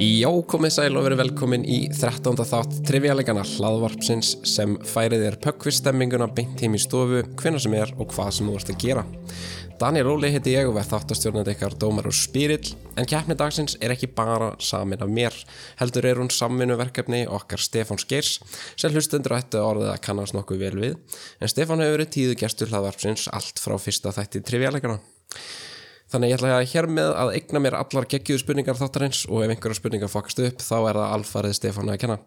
Já, komið sæl og verið velkomin í 13. þátt trivialegana hlaðvarpsins sem færið er pökkvistemminguna beint heim í stofu, hvenna sem er og hvað sem þú ert að gera. Daniel Óli heiti ég og verð þáttastjórnandi ykkar dómar og spyrill, en keppni dagsins er ekki bara samin af mér. Heldur er hún samvinnuverkefni okkar Stefáns Geirs, sem hlustendur ættu orðið að kannast nokkuð vel við, en Stefán hefur verið tíðu gestur hlaðvarpsins allt frá fyrsta þætti trivialegana. Þannig ég ætla að hér með að eigna mér allar geggjuðu spurningar þáttarins og ef einhverja spurningar fokast upp þá er það alfarið Stefán að kenna.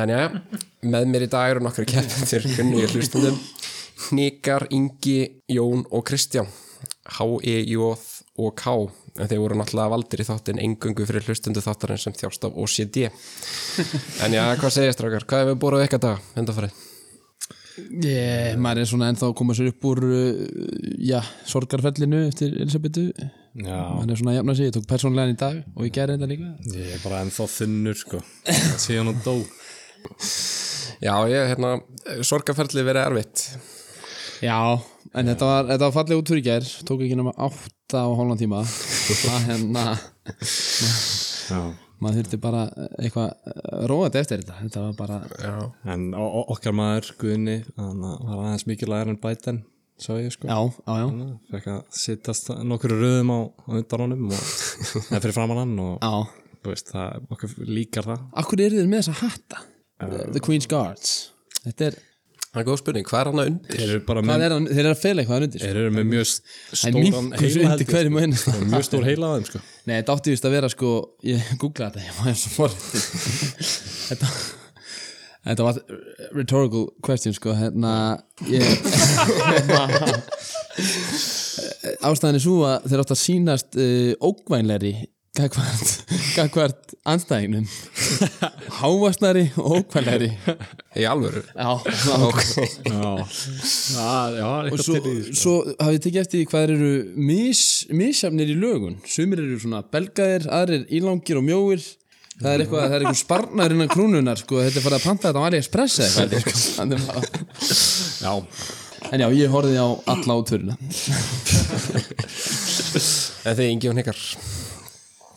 En já, með mér í dag eru nokkru keppendur kunnugir hlustundum. Nikar, Ingi, Jón og Kristján. H, E, J og K. En þeir voru náttúrulega valdir í þáttin engungu fyrir hlustundu þáttarins sem þjást af OCD. En já, hvað segist drakkar? Hvað hefur búið á ykkar dag? Undanfarið? Yeah, maður er svona ennþá að koma sér upp úr uh, já, sorgarfellinu eftir Elisabetu Já, maður er svona að jafna sig, ég tók persónlegan í dag og ég gerði þetta líka ég er bara ennþá þunnur sko síðan hún dó Já, ég, hérna, sorgaferli verið erfitt. Já, en þetta var, þetta var fallið út fyrir í gær tók ekki nema átta og hálfan tíma það hérna Já. maður þurfti bara eh, eitthvað róðat eftir þetta þetta var bara, Já. En o- o- okkar maður Guðni hann var aðeins mikið lægir en bæten svo ég sko já, já, já Fekk að sittast nokkur röðum á á undan honum og eða fyrir framann hann og Já, þú veist, það, okkur líkar það akkur eru þeir með þessa hatta The Queen's Guards Þetta er, Það er góð spurning, hvað er hann að undir? Þeir eru bara hvað með, er það, þeir eru að fela eitthvað þarna undir sko. er, er með mjög s- Það er stóran minkus undir heila held ég, hverjum og einu sko. Mjög stór heila að þeim sko Nei, þetta átti vist að vera sko Ég googlaði þetta, ég var svo forrið Þetta Þetta var rhetorical question sko Hérna ég, Ástæðan er svo að þeir átt að sýnast uh, ógvænleri Gagvart, gagvart anstæðinum Hávastnari og ógvænleri Í alvöru? Já, Ok. Já, já, og svo, svo hafið tekið eftir því hvað þeir eru mis, misjafnir í lögun sumir eru svona belgaðir, aðrir ílangir og mjóir það er eitthvað, það er eitthvað sparnar innan krúnunar sko, þetta er farið að panta þetta á AliExpress eða eitthvað sko. Þannig að- Já, en já, ég horfið á alla átverðina En þið yngi hún ykkar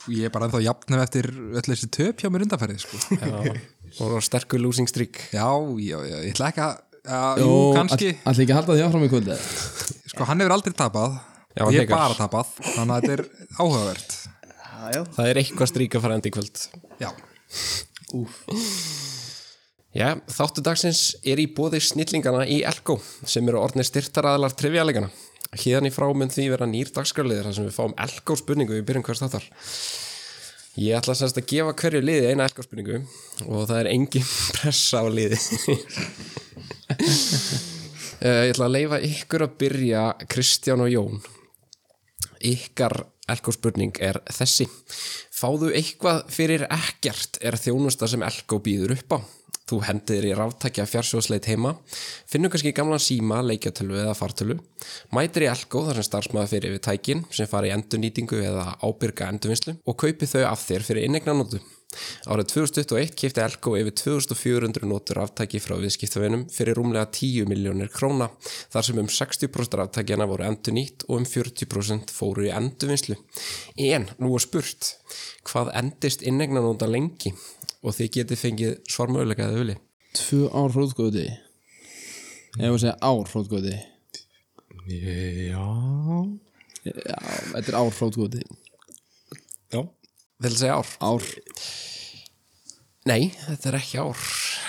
ég er bara ennþá jafnum eftir öll þessi töp hjá mér undanferði sko. og var sterkur losing streak já, já, já, ég ætla ekki að Já, jú, og kannski, allir ekki að halda því áfram í kvöld eða? sko hann hefur aldrei tapað Já, hann ég hef tekur. bara tapað, þannig að þetta er áhugavert Það er eitthvað streak að fara enda í kvöld já, Já, þáttu dagsins er í bóði snillingana í Elko sem eru orðnir styrtaraðalar trivjalegana Híðan í frá mun því vera nýr dagskraliðir þar sem við fáum Elko spurningu í byrjun hvers þáttar Ég ætla semst að gefa hverju liði eina Elko spurningu og það er engin pressa á liði Eh, Ég ætla að leifa ykkur að byrja Kristján og Jón Ykkar Elko spurning er þessi. Fáðu eitthvað fyrir ekkert er þjónusta sem Elko býður upp á. Þú hendir í ráftækja fjarsjóðsleit heima, finnur kannski gamlan síma, leikjatölu eða fartölu, mætir í Elko þar sem starfsmæða fyrir við tækin sem fari í endurnýtingu eða ábyrga endurvinnslu og kaupi þau af þér fyrir innegnanótu. Árið 2021 kipti Elko yfir 2400 notur aftæki frá viðskiptavinum fyrir rúmlega 10 miljónir króna þar sem um 60% aftækjana voru endur nýtt og um 40% fóru í endurvinnslu. En nú er spurt, hvað endist innegna nota lengi og þið getið fengið svarmöðulega eða vili? tvö ár hróðgóði ef að segja ár hróðgóði já, já, þetta er ár hróðgóði já. Vil segja ár? ár, Nei, þetta er ekki ár.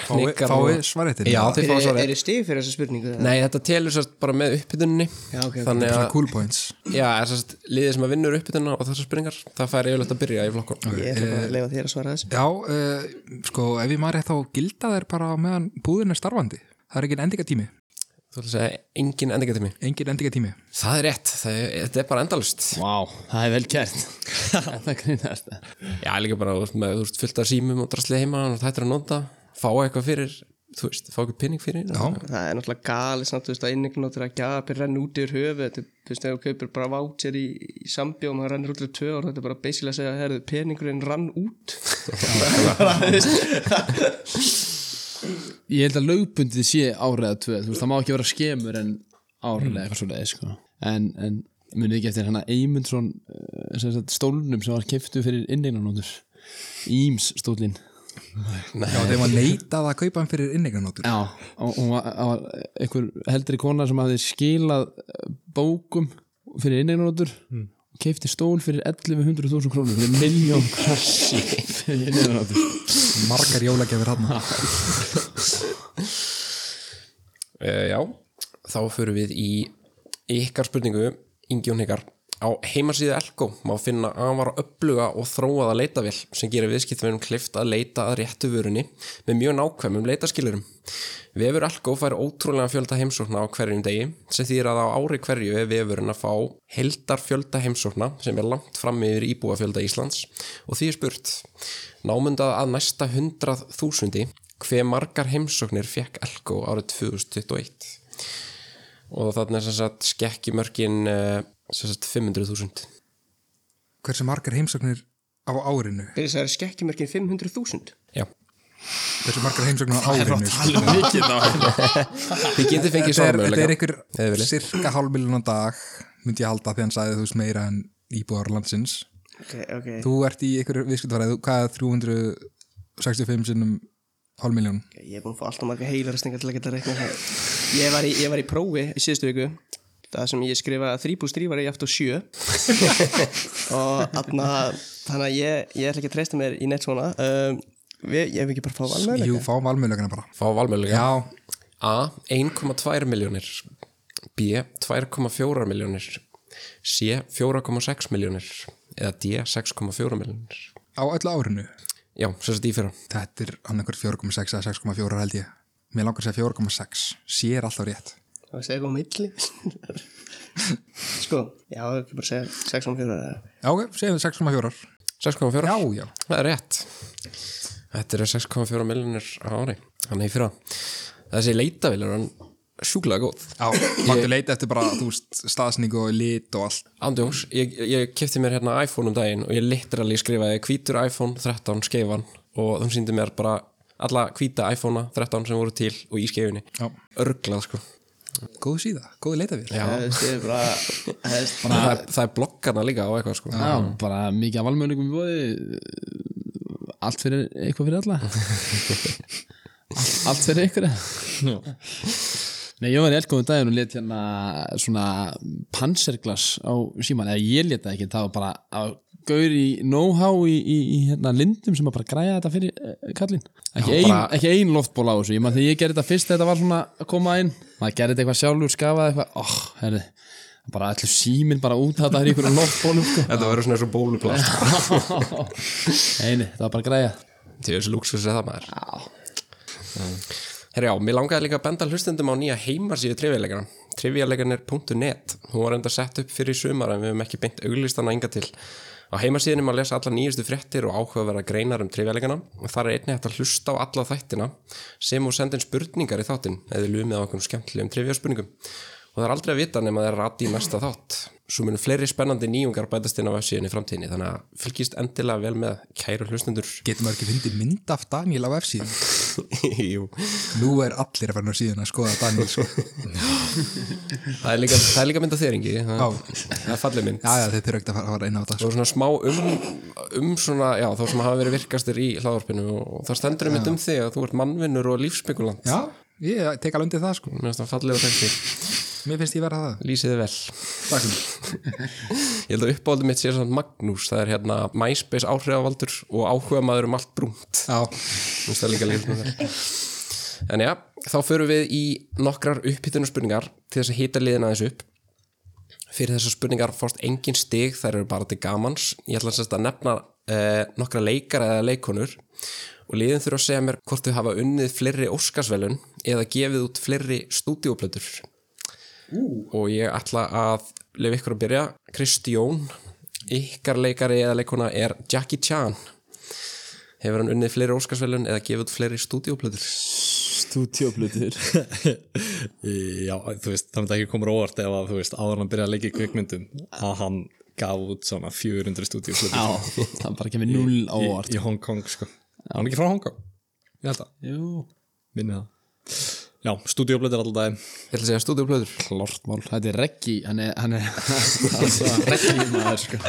fái, Hnikar fái og- svaretin Já, þið fáið Er, svarið. er stig fyrir þessa spurningu? eða? Nei, þetta telur sérst bara með uppbytuninni. Já, ok, ok. Þannig að cool points Já, er sérst liðið sem að vinnur uppbytuna og þessar spurningar, það fær yfirleitt að byrja í flokkur. Ég ætla bara að leifa þér að svara þessu já, uh, sko, ef ég maður rétt þá gilda þeir bara á meðan búðin er starfandi það er engin endingatími, Þú ætla að segja engin endingatími. engin endingatími Það er rétt, það er, þetta er bara endalust. vá, það er vel kert það grínast það Já, líka bara þú veist, með, þú veist, fullt af símum og drasli heima og þetta er að nota, fá eitthvað fyrir, þú veist, fá eitthvað pinning fyrir. Já. Það er náttúrulega gali samt, þú veist, að innignóttur að gjapir renn út yfir höfu Þú veist, þegar þú kaupir bara voucher í, í sambjóð og maður rennur út yfir tvö ár Þetta er bara basically að segja, herðu, peningurinn rann út Ég held að lögbundið sé áriða tvö þú veist, það má ekki vera skemur en áriða eitthvað svo sko. en, en munið ekki eftir hana Eymundsson eh, sem sagt, stólnum sem var keiftu fyrir inneignanóttur Íms stólin Já, þeim var neitað að kaupa hann fyrir inneignarnótur Já, og hún var, það var einhver heldri kona sem hafði skilað eh, bókum fyrir inneignarnotur mm. og keipti stól fyrir 1100.000 krónur fyrir miljón fyrir inneignarnotur Margar jólagjafir hann Uh, já, þá förum við í ykkar spurningu, Ingjón ykkar. Á heimasíðu Elko má finna afar uppluga og þróaða leitavél sem gerir viðskiptmennum klift að leita að réttu vörunni með mjög nákvæmum leitaskilurum. Vefur Elko fær ótrúlega fjölda heimsókna á hverjum degi sem þýðir að á ári hverju er vefurinn að fá heldar fjölda heimsókna sem er langt fram yfir íbúafjölda Íslands og því er spurt námundað að næsta 100.000 hve margar heimsóknir fekk Elko árið 2021 og þannig er sem sagt skekkjumörkin eh, sem sagt 500.000 Hversu margar heimsóknir á árinu Fyrir þess að skekkjumörkin 500.000 já, Hversu margar heimsóknir á árinu sko? um þið getið fengið Þetta er, þetta er svarmöðuleika einhver Ef þið viljið. cirka hálfmiljón á dag myndi ég halda því hann sagði þú veist meira en íbúðar landsins Ok, ok Þú ert í einhverju viðskiptafæði, hvað er 365 sinnum hálfmiljón? Ég er búin að fá alltaf marga heilarastingar til að geta reikna það Ég var í, ég var í prófi í síðustu viku Það sem ég skrifaði að 3 pluss 3 var ég aftur 7 Og atna, þannig að ég, ég ætla ekki að treysta mér í neitt svona um, við, Ég hef ekki bara fá valmöðuleika Jú, fáum valmöðulegana bara fá valmöðuleika Já, A. 1,2 miljónir B. 2,4 miljónir C. 4,6 miljónir eða D. 6,4 miljónir á öllu árinu já, sem sagt í fyrra Þetta er hann einhver 4,6 eða 6,4 held ég Mér langar að segja 4,6 Sér alltaf rétt Það segja eitthvað um milli Sko, já, ekki bara segja 6 og 4 Já, ok, segjum við 6,4 6,4 Já, já Það er rétt. Þetta eru 6,4 miljonir á ári. Hann er í fyrra. Þessi leitavél er hann sjúklega góð. Já, máttu leita eftir bara, þú veist, staðsningu og lit og allt Andjóns, ég, ég kefti mér hérna iPhone um daginn og ég literally skrifaði hvítur iPhone 13 skeifan og þau síndi mér bara alla hvíta iPhone 13 sem voru til og í skeifinni. Já. Örglað sko. Góð síða, góð leita við Það er bara það er- Það er, það er blokkarna líka á eitthvað sko. Já, bara mikið af valmönningum í bóði allt fyrir eitthvað fyrir alla allt fyrir ykkur Nei, ég var í elgóðum daginn og let hérna svona panserglas á síman, eða ég let það ekki það var bara að gaur í know-how í, í, í hérna lindum sem að bara græja þetta fyrir eh, kallinn ekki, ein, bara- ekki ein loftból á þessu, ég maður þegar ég gerði þetta fyrst þetta var svona að koma inn maður gerði þetta eitthvað sjálfur, skafaði eitthvað oh, herri, bara allir síminn bara út þetta er ykkur loftbólum sko. Þetta verður svona eins og bóluplast. Einu, það var bara græja Til þessi lúksus er það maður. Herra já, mér langaði líka að benda hlustendum á nýja heimasíðu trivialegarna trivialegarnir.net Hún var enda sett upp fyrir sumar en við höfum ekki beint auglistana enga til Á heimasíðinni má lesa alla nýjustu fréttir og áhugaverða greinar um trivialegarna og þar er einnig hægt að hlusta á alla þættina sem og senda inn spurningar í þáttinn eða lumið á okkur skemmtilegum triviaspurningum og það er aldrei að vita nema það er rætt í næsta þátt Svo munum fleiri spennandi nýjungar bætast inn á vefsíðinni í framtíðinni þannig að fylgist endilega vel með kæru hlustendur Getum við ekki fyndið mynd af Daniel á F-síðan Jú Nú er allir að fara á síðan að skoða Daniel sko. Það er líka, það er líka mynd af þér Ingi Það- Það er fallið mynd Já, já, þetta er aukt að fara að fara inn á þetta Það sko. var svona smá um, um svona, já, þá sem hafa verið virkastir í hláðarpinu og, og það stendur um um þig að þú ert mannvinnur og lífsspekulant. Já, ég tek alveg undir það sko. Mér finnst það fallega texti. Mér finnst ég verða það Lýsið þið vel. Takk fyrir Ég held að uppáldum mitt sé svona Magnús, það er hérna MySpace áhrifavaldur og áhuga maður um allt brúnt. Já, Mér finnst það líka lífnum vel. En já, þá förum við í nokkrar upphittunarspurningar til þess að hýta liðin aðeins upp. Fyrir þessar spurningar fórst engin stig, þær eru bara til gamans. Ég ætla sérst að nefna eh, nokkra leikar eða leikonur og liðin þurfa að segja mér hvort þau hafa unnið fleiri Óskarsvelun eða gefið út fleiri stúdíoplötur. Og ég ætla að lefa ykkur að byrja. Kristjón, ykkar leikari eða leikona er Jackie Chan. Hefur hann unnið fleiri Óskarsvelun eða gefið út fleiri stúdíoplötur? Stúdíoplutur Já, þú veist, það myndi ekki koma óvart ef að, þú veist, áður en hann byrja að leggja í kvikmyndum að hann gaf út svona 400 stúdíuflutur Já, það bara kemur null á í, óvart í Hong Kong, sko. Hann er ekki frá Hong Kong, ég held að, Jú, minni það. Já, stúdíuflutur alltaf daginn, Ég ætla að segja stúdíoplötur. lortmál, þetta er reggi hann er, hann er reggi maður sko.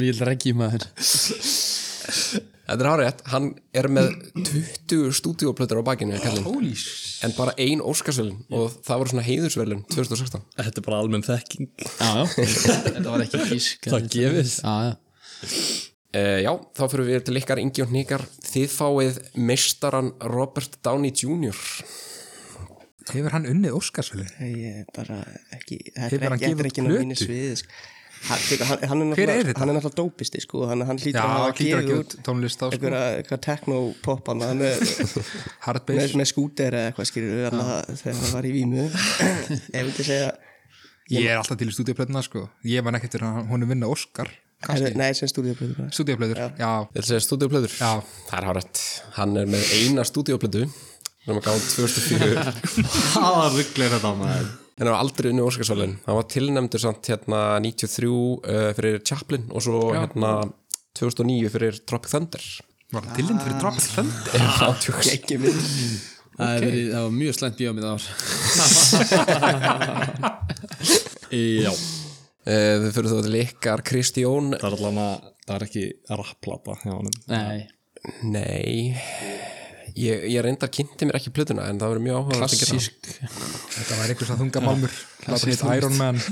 mjög reggi maður Þetta er hárétt, hann er með 20 stúdíoplötur á bakinu kallinn. Holy shit. en bara ein Óskarsvelun og það voru svona heiðursvelun 2016 Þetta er bara almenn þekking já, þetta var ekki gísk Það gefist já, já. Uh, já, þá fyrir við til ykkar Ingi og Hnikar Þið fáið meistaran Robert Downey Jr. Hefur hann unnið Óskarsvölin? ég er bara ekki Hefur þetta er hann ekki, þetta gefið er ekki út ná plötu? mínu sviði sko. hann, sko, hann, Hver er hann, er þetta? náttúrulega- hann er náttúrulega dópisti sko, hann, hann Já, hlýtur að hafa hann hlýtur að gefa út tónlist á, sko. einhverja einhverja techno-pop hann með, með, Hardbase? með skúter eða eitthvað skýrur þegar hann var í Vímu ég vildi segja Ég er alltaf til í stúdíuplötuna sko. Ég man ekkert fyrir að hún er vinna Óskar. Kannski. nei, sem stúdíuplöður Stúdíuplötur, já. já. Þetta segja stúdíoplötur? Já. Það er hárætt Hann er með eina stúdíoplötu sem að gáði 2004 Það var rugglir þetta maður en hann var aldrei unni Óskarsvelun Hann var tilnæmdur samt hérna 93 uh, fyrir Chaplin og svo hérna 2009 fyrir Tropic Thunder Var hann tillind fyrir Drop Thunder? Já, tjóks ekki minn Það, okay. verið, það var mjög slæmt bíómið ár Já, Eh, Þið fyrir þá til ykkar Kristjón það er allan að Það er ekki rapplata hjá honum Nei, Nei Ég, ég reyndar kynnti mér ekki plötuna en það verður mjög áhuga klassísk Þetta var einhvers að þunga málmur. Láta hitt Iron Man.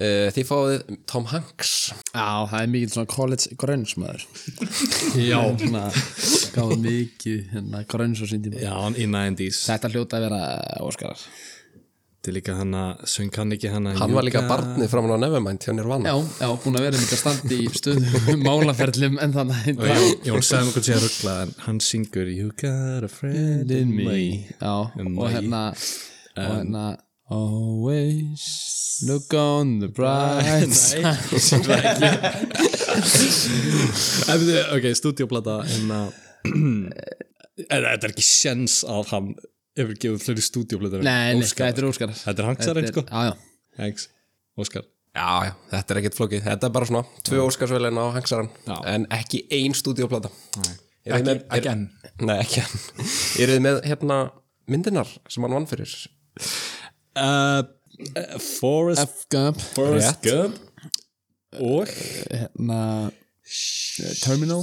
Eh, Þið fáið Tom Hanks Já, það er mikið svona college grunge maður Já, Svona, gáði mikið hérna, grunge á sín tíma já hann í 90s Þetta hljóta að vera Óskarar Þetta er líka hann að Söng hann ekki hann að Hann var líka barnið framan á Nevermind hjá Nirvana Já, já, búin að vera mitt að standa í stöðu málaferðlum en þannig að Jón sagði mig hvort sé að ruggla En hann syngur You got a friend in me Um Já, og my- hérna og hérna Always look on the bright side Ef þið, ok, stúdíoplata en að en þetta er ekki sjens að hann hefur gefið fleiri stúdíoplata Nei, nei, þetta er Óskarar Þetta er hangsarinn, sko. Já, já, Hanks, Óskar Já, já, þetta er ekkert flókið Þetta er bara svona, tvö Óskarsvelin á Hangsaran En ekki ein stúdíoplata Eruð þið Ekki- með- er- ekki enn. Nei, ekki enn Eru þið með hérna myndinar sem hann vann fyrir uh, Forrest F. Gump Forrest Gump og hérna Uh, Terminal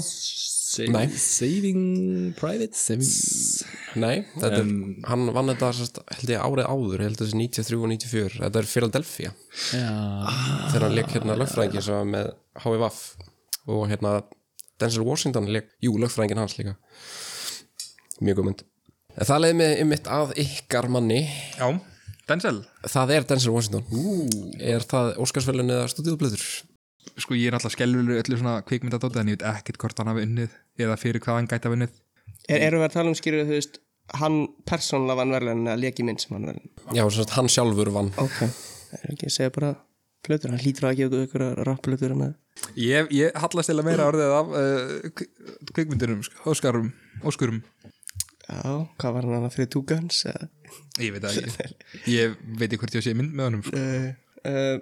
Nei. Saving Private Saving Nei, þetta er, hann vann þetta sérst, held ég árið áður, ég held þessi 93 og 94 Þetta er Philadelphia Já, þegar hann leik Ah, hérna lögfræðingi sem var með HVF og hérna Denzel Washington leik, jú, lögfræðingin hans líka mjög góð mynd en það leiði mig mitt að ykkar manni Já. Denzel? það er Denzel Washington Ú. er það Óskarsfjölun eða stúdíublöður Sko ég er alltaf skellur öllu svona kvikmyndadóta en ég veit ekkert hvort hann hafi unnið eða fyrir hvað hann gæti hafa unnið. er, erum við að tala um skýrur þú veist hann persónlega vann verðlun að leki minn sem hann verðlun já, sem sagt, hann sjálfur vann ok það er ekki að segja bara plötur hann hlýtur að gefa ykkur rapplötur hérna. hann að- Ég, ég hallast eða meira orðið af uh, kvi- kvikmyndunum, sko, Óskarum, Óskurum. já hvað var hann að þrið túkans eða Ég veit að ég, ég veit ekki hvort ég sé mynd með honum. Sko. uh, uh,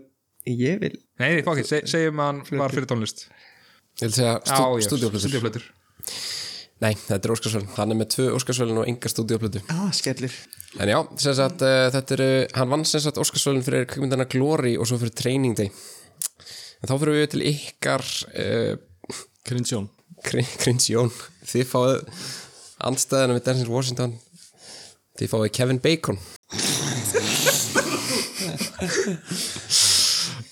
ég vil Nei, nei, fákið, seg, segjum að hann var fyrir tónlist. ég vil segja Já, stu, já, stúdíublöður Stúdíóplötur. nei, þetta er Óskarsfjölun, hann er með tvö Óskarsfjölun og enga stúdíublöðu ah, skellir en já, sem sagt, uh, þetta eru hann vann sem sagt Óskarsfjölun fyrir kvikmyndana Glory og svo fyrir Training Day en þá fyrir við til ykkar uh, Krinsjón Krins Jón þið fáið andstæðina við Denzel Washington þið fáið Kevin Bacon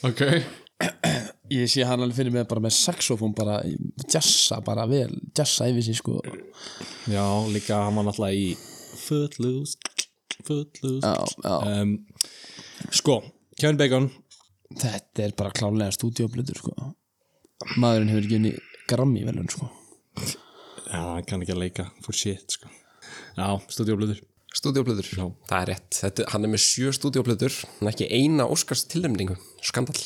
Ok ég sé hann alveg fyrir mig bara með saxofón bara í- jassa bara vel, jassa yfir sig sko Já, líka hann var náttúrulega í Footloose Footloose já, já. um, Sko, Kevin Bacon þetta er bara klálega stúdíoblöður sko maðurinn hefur ekki unni grammi velun sko Já, hann kann ekki að leika For shit, sko Já, stúdíoblöður stúdíoplöður, það er rétt Þetta, hann er með sjö stúdíoplöður en ekki eina Óskars tilnæmningu, skandal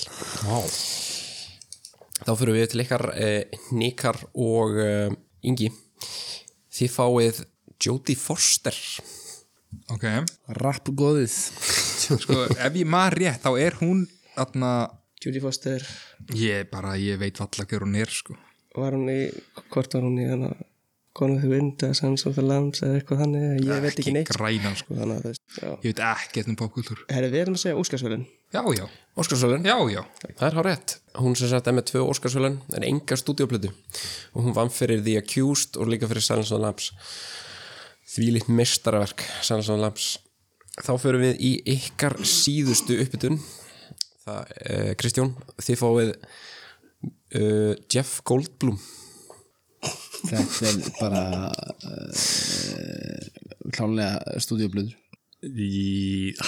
Vá þá fyrir við til ykkar eh, Nikar og eh, Ingi þið fáið Jodie Foster Ok, rappgóðið sko ef ég maður rétt þá er hún þarna, Judy Foster ég bara, ég veit valla hver hún er sko. var hún í hvort var hún í hana Gone with the Wind eða Sons of the Lambs eða eitthvað þannig ég veit ekki neitt sko, grænan sko þannig að þú veist já. ég veit ekkert um popkultúr Herri, við erum að segja Óskarsvölin já, já, Óskarsvölun já, já Það er hár rétt. Hún sem sagt er með tvö Óskarsvölun en enga stúdíoplötu og hún vann fyrir The Accused og líka fyrir Silence of the Lambs. Því litt mestarverk Silence of the Lambs. Þá förum við í ykkar síðustu uppbytun. Það, eh, Kristján, þið fáið uh, Jeff Goldblum. Þetta er bara uh, klálega stúdíoblöður í,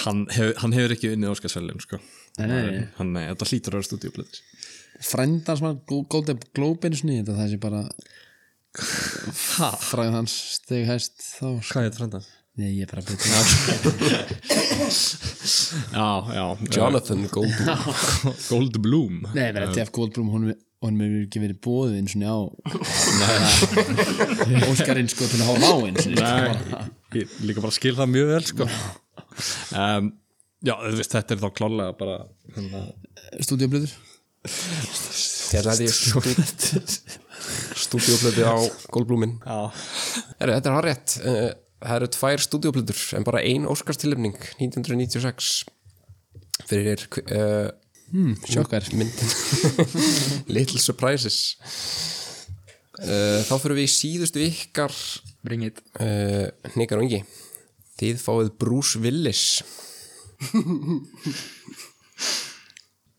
hann, hef, hann hefur ekki unnið Óskarsvælun sko. Nei, nei, nei. hann, nei, þetta hlýtur að vera stúdíublöður Frændans mann, Golden Globe einu sinni, þetta það sé bara fræðan hans steg hæst þá sko. hvað er þetta frændan? Nei, ég er bara betur já, já, Jonathan Goldblum. eh, Gold Bloom Nei, það er Jeff Goldblum, honum honum hefur ekki verið bóðið eins og njá Óskarinn sko til að horfa á eins og Nei, ég líka bara skil það mjög vel sko. um, Já, þú veist, þetta er þá klálega bara hérna, stúdíoblöður Hérna er ég stúdíoplötu á Goldblumin. Já, Heru, þetta er hár rétt. Eh, Það eru tvær stúdíoplötur en bara ein Óskarstilefning 1996 fyrir uh, Hmm, Sjokkar myndin Little Surprises uh, Þá fyrir við í síðustu ykkar bring it uh, Nikar og Ingi Þið fáið Bruce Willis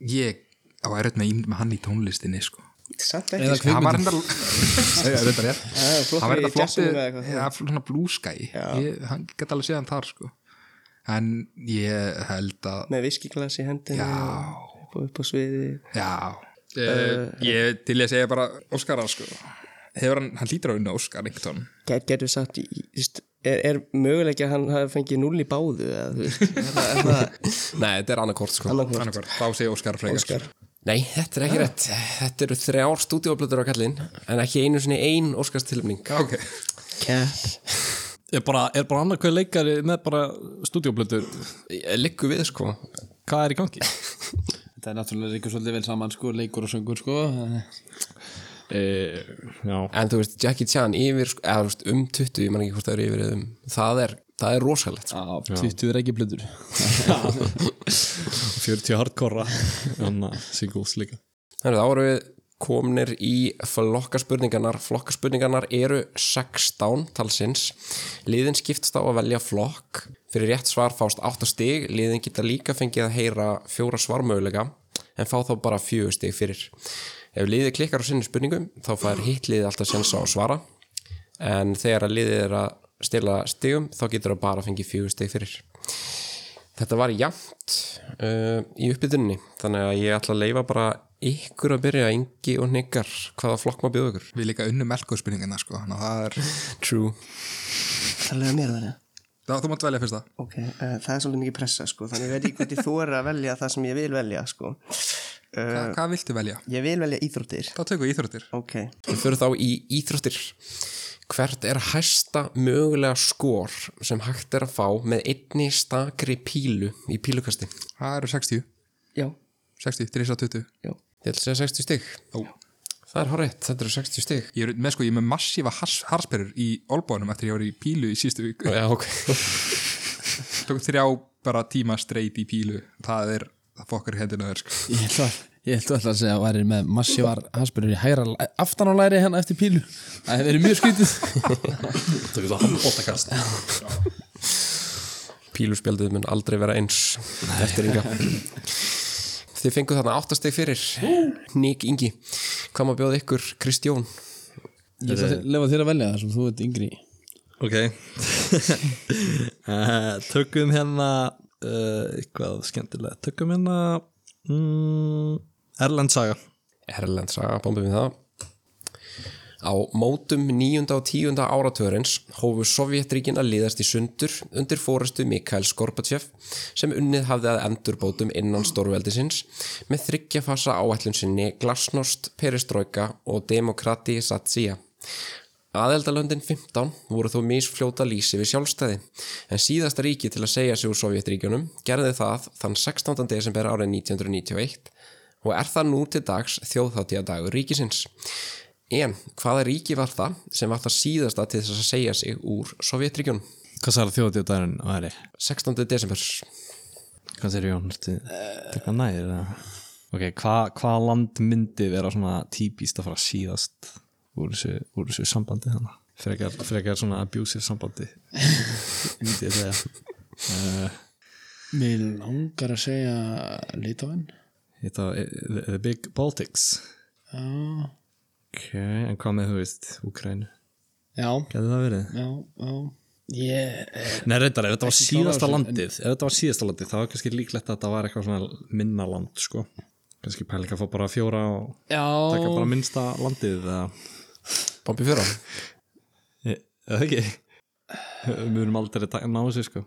ég á erut með ímynd með hann í tónlistinni sko samt Eða ekki sko. það var kvikmyndum reyndar það er reyndar rétt Það er flott það var í þetta jazzinu eða flottu eitthvað. já, svona blúskæ ég hann get alveg séð hann þar sko en ég held að með viskiglas í hendinu Já. upp og- upp á sviði já Eh. Uh, ég til ég segja bara Óskarar sko hefur hann, hann lítur á unna Óskar einhvern Get, getur við sagt, í- í- þú veist, er, er möguleik að hann hafi fengið null í báðu eða þú veist, er það- er það Nei, þetta er annarkort sko annarkvort Annarkvör, þá segja Óskar frekar sko. Óskar. Nei, þetta er ekki rétt Þetta eru þrjár stúdíoplötur á kallinn en ekki einu sinni ein Óskarstilefning ok, Cap er bara, er bara annað hvað leikari með bara stúdíublöður Eh, Liggu við sko Hvað er í gangi? Þetta er náttúrulega ríkur svolítið vel saman sko, leikur og söngur sko e, já, En þú veist, Jackie Chan yfir, sko- eða þú veist, um 20, ég man ekki hvort það eru yfir eða um, það er, það er rosalegt. Á, 20 er ekki blöður 40 hardkora Þannig að Hérna, singles líka Þannig að þá eru við komnir í flokkaspurningarnar. Flokkaspurningarnar eru 16 talsins. Liðin skiptast á að velja flokk. Fyrir rétt svar fást 8 stig. Liðin geta líka fengið að heyra fjóra svarmögulega en fá þá bara 4 stig fyrir. Ef liðið klikkar á sinni spurningum þá fær hitt liðið alltaf sens á að svara en þegar að liðið er að stila stigum þá getur það bara að fengið 4 stig fyrir. Þetta var jafnt uh, í uppbytunni þannig að ég ætla að leifa bara ykkur að byrja, yngi og niggar hvaða flokk maður bjóða ykkur við líka unnu melkóðspurningina sko þannig að það er, True Það er að lega mér það þá þú mátt velja fyrst það Ok, uh, það er svolítið mikið pressa sko þannig ég veit ekki hvernig þú er að velja það sem ég vil velja sko uh, hvað viltu velja? Ég vil velja íþróttir þá tökum við íþróttir Ok, Við fyrir þá í íþróttir Hvert er hæsta mögulega skor sem hægt er að fá með einni stakri pílu í pílukasti? það eru 60, já, 60, 320 já Ég ætla að segja 60 stig Ó. Það er horrið, þetta eru 60 stig ég er með sko, ég er með massífa hars, harsperur í olbónum eftir ég var í pílu í sístu viku Já, ok tók þrjá bara tíma streit í pílu það er, það fokkar í hendina þér sko Ég ætla að Ég ætla alltaf að segja að væri með massívar hansbyrjur í hægra læ- aftan á læri hérna eftir pílu Það hefur verið mjög skrítið Þetta er það handbóttakast Píluspjaldið mun aldrei vera eins eftir ynga Þið fenguð þarna 8 stig fyrir Nik Ingi, hvað maður bjóða ykkur Kristjón? Ég ætla að lefa þér að velja það sem þú ert yngri í. Ok uh, Tökum hérna uh, Eitthvað skemmtilega Tökum hérna mm, Erlend saga Erlend saga, bombið við það Á mótum 9. og 10. áratörins hófu Sovjetríkin að liðast í sundur undir fórestu Mikhail Gorbachev sem unnið hafði að endurbótum innan stórveldisins með þryggjafasa áætlun sinni Glasnost, Perestroika og Demokrati Satsia. Aðeldalöndin 15 voru þó misfljóta lýsi við sjálfstæði, en síðasta ríki til að segja sig úr Sovjetríkjunum gerði það þann 16. desember árið 1991 og er það nú til dags þjóðháttíðadagur ríkisins. En hvaða ríki var það sem var það síðasta til þess að segja sig úr Sovjetríkjun? Hvað sagði þjóðdjóðdærin væri? 16. desember. Hvað segir Jón? Þetta næðir það Ok, hvað hva land myndi vera svona típist að fara síðast úr þessu, úr þessu sambandi þannig? Frekar, frekar svona abusive sambandi Myndi ég segja Mér langar að segja Litóin Þetta var the, the Big Baltics Já, Ok, en hvað með þú veist, Úkrænu? já, Gæði það verið? já, já. eh, Yeah. Nei, reyndar, ef þetta var klára síðasta þessu, landið ef þetta var síðasta landið, þá var kannski líklegt að þetta var eitthvað svona minna land, sko kannski pælinga að fá bara fjóra og taka Já, bara minnsta landið eða Bombi fjóra. Ég- eða ekki Við erum aldrei að ná þessu, sko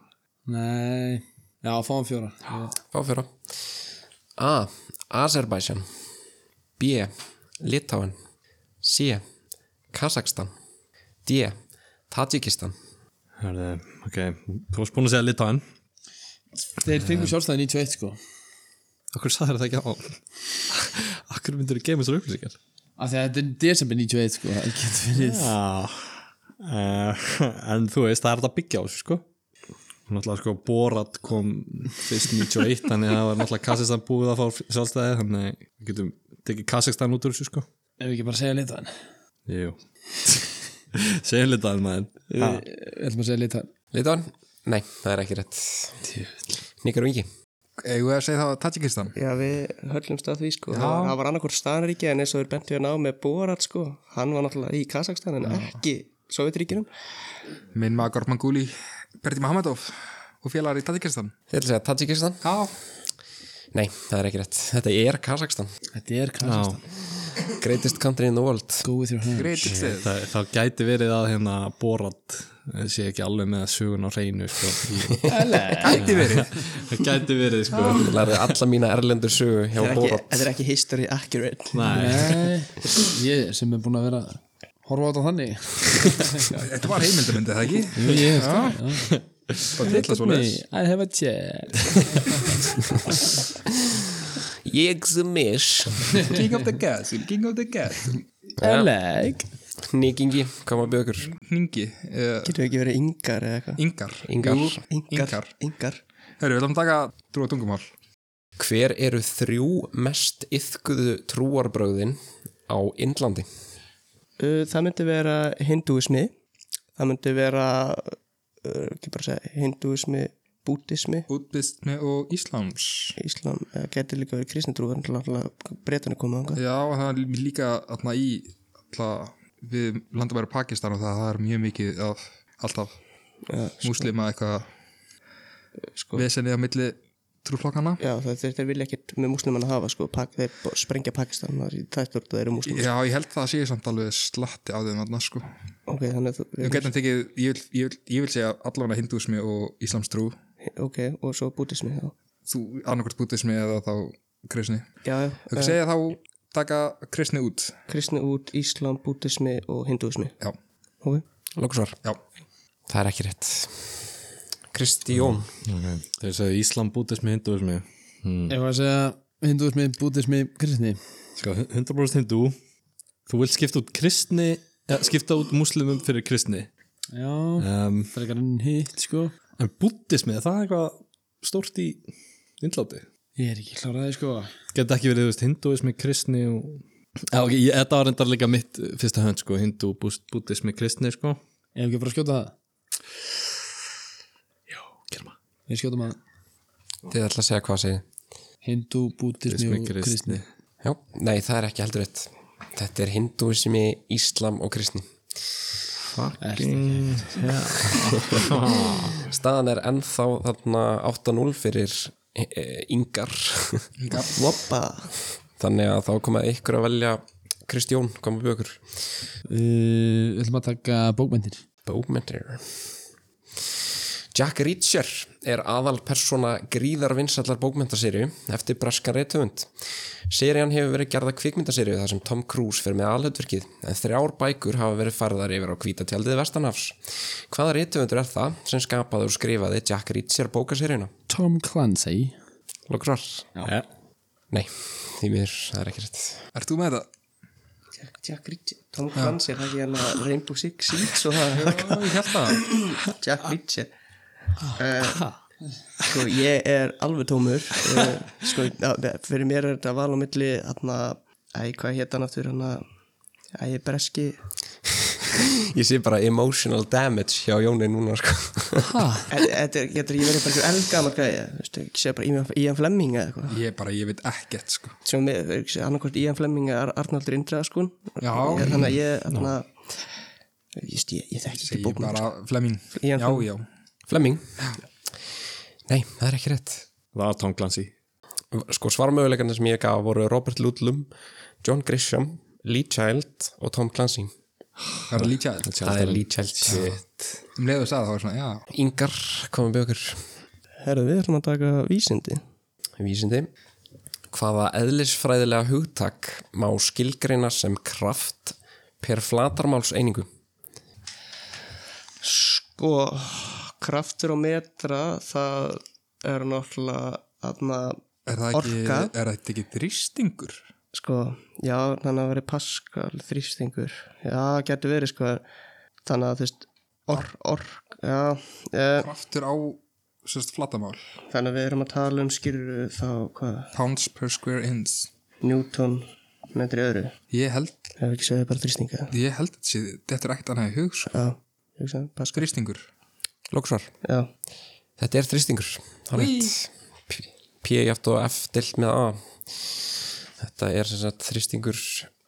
nei Já, fáum fjóra Fá fjóra. A. Azerbaijan. B. Litáen. C. Kazakstan. D. Tajikistan. Hörðu, ok, þú varst búin að segja litáin Þeir fengur sjálfstæði 91 sko Akkur sagði þetta ekki á Akkur myndur þú gefa mér svo upplýsingar Af því að þetta er desember 91 sko Það getur verið Já uh, En þú veist, það er þetta að byggja á þessu sko Náttúrulega sko Borat kom fyrst 91 þannig að það var náttúrulega Kazakstan búið að fá sjálfstæði þannig að við getum tekið Kazakstan út úr þessu sko Ef við ekki bara segja Litóin Jú Segjum litaðan maður Ha, Við ætlum að segja Litóin Litáen? Nei, það er ekki rétt. Nikar vingi. Eigum við að segja það Tajikistan? Já, við höllumst að því sko Það það var annarkvort staðaríki en eins og þeir bentu hérna á með Borat sko Hann var náttúrulega í Kazakstan en ekki Sovjetríkinum Minn maður Gorman Gúli, Berti Mahamedov og félagar í Tajikistan. Þið ætla að segja Tajikistan? Já, Nei, það er ekki rétt. Þetta er Kazakstan. Þetta er kannast Greatest country in the world. Go with your hand greit stið. það, Þá gæti verið að hérna Borat eh, sé ekki alveg með sögun á hreinu sko Gæti verið. Það gæti verið sko Lærði alla mína erlendur sögu hjá Þetta er ekki- Borat. þetta er ekki history accurate Nei, Nei, ég sem er búin að vera að Horfa á þetta þannig Þetta var heimildamundið, það ekki? Jú, ég hef það já. Bara titla svo leiðis. I have a chair Ég sem is. King of the Castle, King of the Castle. I like Nikingi, koma bjögur. Ningi, uh, Getum við ekki verið yngar eða eitthvað Ingar. Ingar. Jú, Ingar. Yngar, yngar Hörru, við ætlum að taka trú og tungumál. Hver eru þrjú mest yfkuðu trúarbröðin á Indlandi? Uh, Það myndi vera hindúismi Það myndi vera uh, ekki bara að segja hindúismi bútismi, Búdismi og Íslams. íslam eða geti líka verið kristnitrúar breytan að koma ánga Já, það er líka atna, í alltaf við landum bara Pakistan og það, það er mjög mikið af alltaf Já, múslima eitthvað Sko. vesenið á milli trúflokkana. Já, þeir, þeir, þeir vilja ekkert með múslimann að hafa sko, pak, þeir bo- sprengja Pakistan það er það stort að þeir eru múslimann Já, ég held það sé samt alveg slatti á þeim þarna sko. Ok, þannig að þú Við getum tekið, ég vil, ég vil, ég vil segja allavega hindúismi og íslamstrú Ok, og svo bútismi já. þú annarkvært bútismi eða þá kristni. Já, já, Þau eh, segja þá taka kristni út. kristni út, íslam, bútismi og hindúismi Já, Ok, Lókusvar. já. Það er ekki rétt. Kristjón. Mm. okay. þeir sagði Íslam bútismi, hinduismi Mm. Ég var að segja hindúismi, bútismi, kristni Sko, 100% hindú Þú vilt skipta út kristni ja, skipta út muslimum fyrir kristni Já, um, frekar enn hitt sko En bútismi, það er eitthvað stórt í innláti Ég er ekki kláraði sko Geta ekki verið, þú veist, hinduismi, kristni og... Já, ok, ég, þetta var reyndar líka mitt uh, fyrsta hönd, sko, hindú, búst- búddismi, kristni, sko Ég hef ekki bara að skjóta það Germa. Ég skjóta maður Þið ætla að segja hvað segið. Hindú, bútismi Búddismi, og kristni kristni Já, nei, það er ekki heldur rétt. Þetta er hindúismi, íslam og kristni. Fucking Staðan er ennþá þarna 8-0 fyrir e, e, yngar. voppa Þannig að þá komaði ykkur að velja Kristjón, koma bjögur. Uh, Við ætlum að taka bókmyndir Bómyndir. Jack Reacher er aðal persóna gríðarvinsallar bókmyndaseríu eftir breskan reytöfund. Serían hefur verið gerða kvikmyndaseríu þar sem Tom Cruise fer með alhutverkið en þrjár bækur hafa verið farðar yfir á kvítatjaldið Vestanhafs. Hvaða reytöfundur er það sem skapaði og skrifaði Jack Reacher bókaseríuna? Tom Clancy Lokrar? Já. Nei, því mér það er ekki rétt. Ert þú með þetta? Ok Jack, Jack Ritchie Tom Clancy, er það ekki hann að Rainbow Six Siege og það Ég held það Ah. Jack Ritchie uh, sko ég er alveg tómur uh, sko á, fyrir mér er þetta val á milli hann að, æ, hvað hétt hann aftur hann að, æ, ég er breski Ég sé bara emotional damage hjá Jóni núna sko. Ah. Þetta Eh, þetta er, getur ég verið bara einhver eldgammal gæja, þú veist, ekki segja bara Ian- Ian Fleming eða eitthvað Ég bara, ég veit ekkert sko sem er annarkvæmt Ian Fleming eða Ar- Arnaldur Indraskun Já. þannig að ég þannig að ég, ég, ég þekki ekki Ég bókum bara, Flemming Ian Já, já Flemming Nei, það er ekki rétt Það var Tom Clancy Sko svarmöguleikarnir sem ég gaf voru Robert Ludlum, John Grisham Lee Child og Tom Clancy Það er lítið aðeins Það er Lee Child shit Um leiðu sagði það var svona, já Ingar, komum við okkur herðu við ætlum að taka vísindi Vísindi Hvaða eðlisfræðilega hugtak má skilgreina sem kraft per flatarmálseiningu? sko kraftur og metra það er náttúrulega aðna, Er það ekki, Orka. er þetta ekki þrýstingur? sko, já, þannig að veri Pascal þrýstingur, já, getur verið sko, þannig að þú veist ork, ork, já eh, Kraftur á, sérst, flatamál þannig að við erum að tala um skýrur þá hvað, Pounds per square inch Newton metri öðru Ég held, Ef ekki segja bara þrýstinga ég held þetta sé Þetta er ekkert annað í hug, sko Já, hugsa, paska Þrýstingur Lóksvar Já, Þetta er þrýstingur Það er rétt. P- P jaft og F delt með A Þetta er sem sagt þrýstingur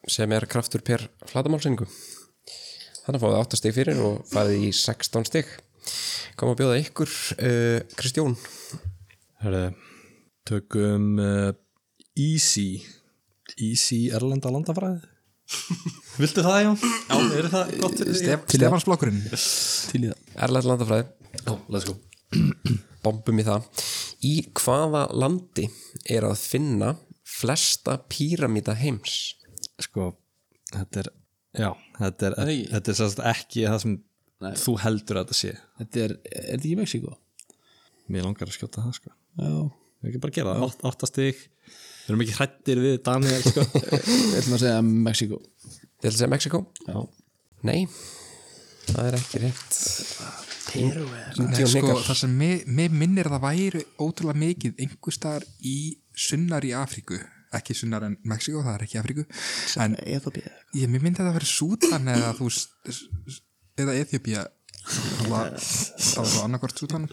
sem er kraftur per flatamálseiningu Þannig fáið 8 stig fyrir og farið í 16 stig Kom að bjóða ykkur uh, Kristjón Hörðu, tökum uh, Easy Easy Erlanda E landafræði Viltu það, Jón? Já, eru það gott fyrir þig? Stef, Stefans blokkurinn Til í það Erlætt landafræði Já, let's go Bombum í það Í hvaða landi er að finna flesta píramíta heims? Sko, þetta er Já, þetta er, þetta er sérst ekki það sem þú heldur að þetta sé Þetta er, er þetta ekki Mexiko? Mér langar að skjóta það, sko Já Við ekki bara að gera það, Átt- átta stig Við erum ekki hrættir við Daniel, sko Ég ætlum að segja Mexiko Þið ætla að segja Mexiko? Já, Nei, það er ekki rétt Peru er Ingi og Sko, Hnikar. það sem mig, mig minnir að það væri ótrúlega mikið einhver staðar í sunnar í Afríku ekki sunnar en Mexiko, það er ekki Afríku en Eþopía ég mér myndi að það veri Sútan eða þú s- s- s- eða Eþjópía það var það var þá annarkvort Sútan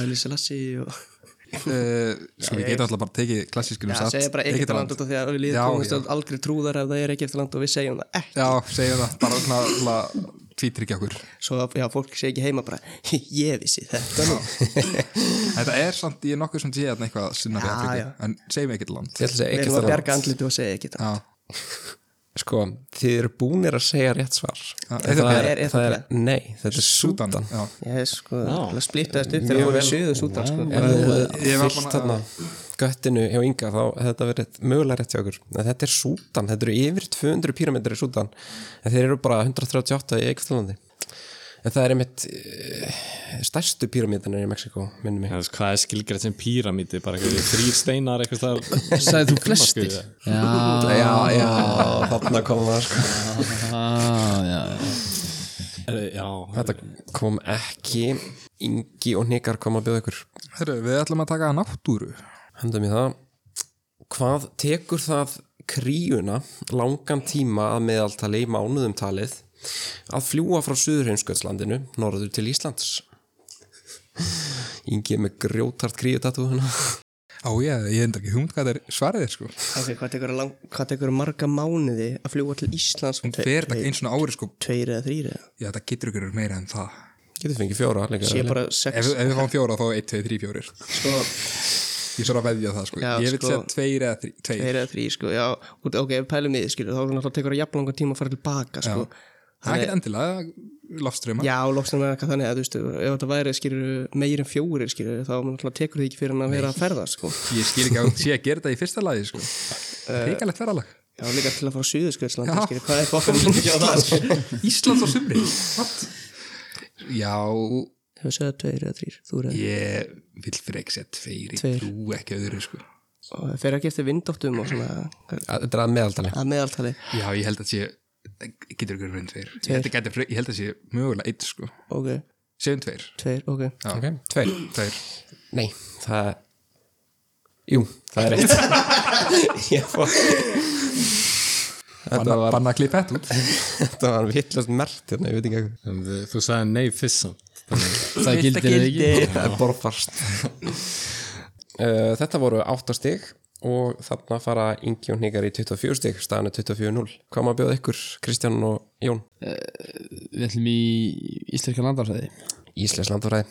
Hæli Selassi og Eh, sko við getum alltaf bara tekið um klassískunum Já, segja bara ekkert land út af því að við Já, líðum tónastöld já. algrið trúðar ef það er ekkert land og við segjum það ekki já, segjum það bara svona til að tvítrykja okkur Svo að já, fólk segi ekki heima bara Ég vissi þetta nú þetta er samt, ég er nokkuð sem sé að eitthvað sunnar í Já, já. Afríku en segjum ekkert land Þið ætla að segja Við ekkert erum að land. bjarga andlitu og segja ekkert já, Sko, þið eru búnir að segja rétt svar Eþjópía. það er, Er það er, Eþíópía? nei, þetta er Súdan Sútan já. Ég sko, það splittaði stutt þegar hún er söðu sútan sko Ef þið Ég hefðu var fyllt búin að- þarna göttinu hjá Inga þá hefði þetta verið mögulega rétt hjá okkur en þetta er Súdan, þetta eru yfir 200 píramítur í Súdan en þeir eru bara 138 í Eikftalandi en það er einmitt eh, stærstu píramítanir í Mexiko minnum mig, Já, þú veist, hvað er skilgrætt sem píramíti bara eitthvað þrýr steinar eitthvað staðar. Sagði þú flestir? Sko, Já, já, já þarna kom það sko já er- Eh, já, þetta kom ekki Ingi og Nikar kom að bjóða ykkur Herru, við ætlum að taka náttúru Hendum í það. Hvað tekur það kríuna langan tíma að meðaltali í mánuðum talið að fljúa frá Suðurheimsköldslandinu norður til Íslands? Ingi er með hérna. grjótart kríutatúðuna. Á ég, ég hefði ekki hugmynd hvað það er svarið er sko Ok, hvað tekur, lang, hvað tekur marga mánuði að fljúa til Íslands Hún fer þetta eins og ári sko Tveir eða þrýr eða Já, þetta getur ykkur meira en það Getur fengið fjóra líka. Ég bara Ef, sex ef við fáum fjóra þá er 1, 2, 3, 4 sko Ég svo að veðja það sko Já, Ég vil sko. segja 2 eða 3 2 tveir eða þrý sko, já, út, ok, ef við pælum í því skilur, þá er náttúrulega tekur það jafnlangan tíma að fara tilbaka sko. Það er ekkert endilega Lofströma Já, loksnum með eitthvað þannig að þú veistu, ef þetta væri skilur meir en fjórir skilur, þá náttúrulega tekur það ekki fyrir hann að vera að ferða sko. Ég skil ekki að hún sé að gera þetta í fyrsta lagi sko Hrikalegt ferralag Já, líka til að fara á Suðurskjöldsland Já. skilur, hvað er fokkan lengi á það sko? Íslands á sumri What? Já, Hefur segðað tveir eða þrýr, þú reyður ég vil frek segja 2 Ég Tveir. trú ekki öðru sko og það fer ekki eftir vindáttum og svona Þetta er að meðaltali. að meðaltali Já, ég held að sé getur ykkur fyrir tveir Þetta gæti, fre- ég held að sé mögulega eitt sko ok, Sefum tveir tveir, ok Já, Ok, tveir tveir Nei, það Jú, það er eitt Ég fór Þetta Banna, var, banna að klippa þetta út þetta var vittlust mert hérna, ég veit ekki hvað En þið- Þú sagði nei fyrst samt Það gildir Þetta eða ekki Það er borfast uh, Þetta voru 8 stig og þarna fara Ingi og Hnigar í 24 stig, staðan er 24-0 Hvað má bjóða ykkur, Kristján og Jón? Við ætlum í íslenska landarfæði Íslensk landfræði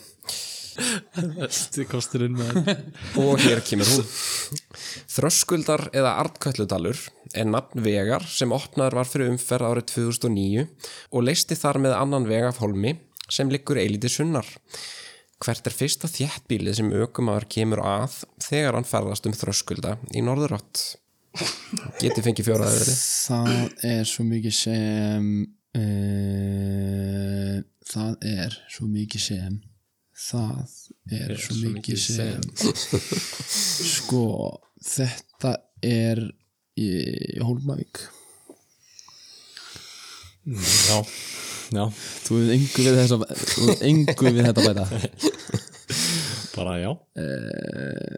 Þið kostur inn með Og hér kemur hún Þröskuldar eða Arnkölludalur er nafn vegar sem opnaður var fyrir umferð árið 2009 og leisti þar með annan veg af holmi sem liggur eilítið sunnar. Hvert er fyrsta þjættbílið sem aukumæður kemur að þegar hann ferðast um þröskulda í norðurátt? Geti fengið fjóraðið verið. Það er svo mikið sem uh, Það er svo mikið sem Það er svo mikið sem Sko, þetta er í Hólmavík Já, já, Þú hefur engu við þetta Þú hefur engu við þetta bæta bara já Eh,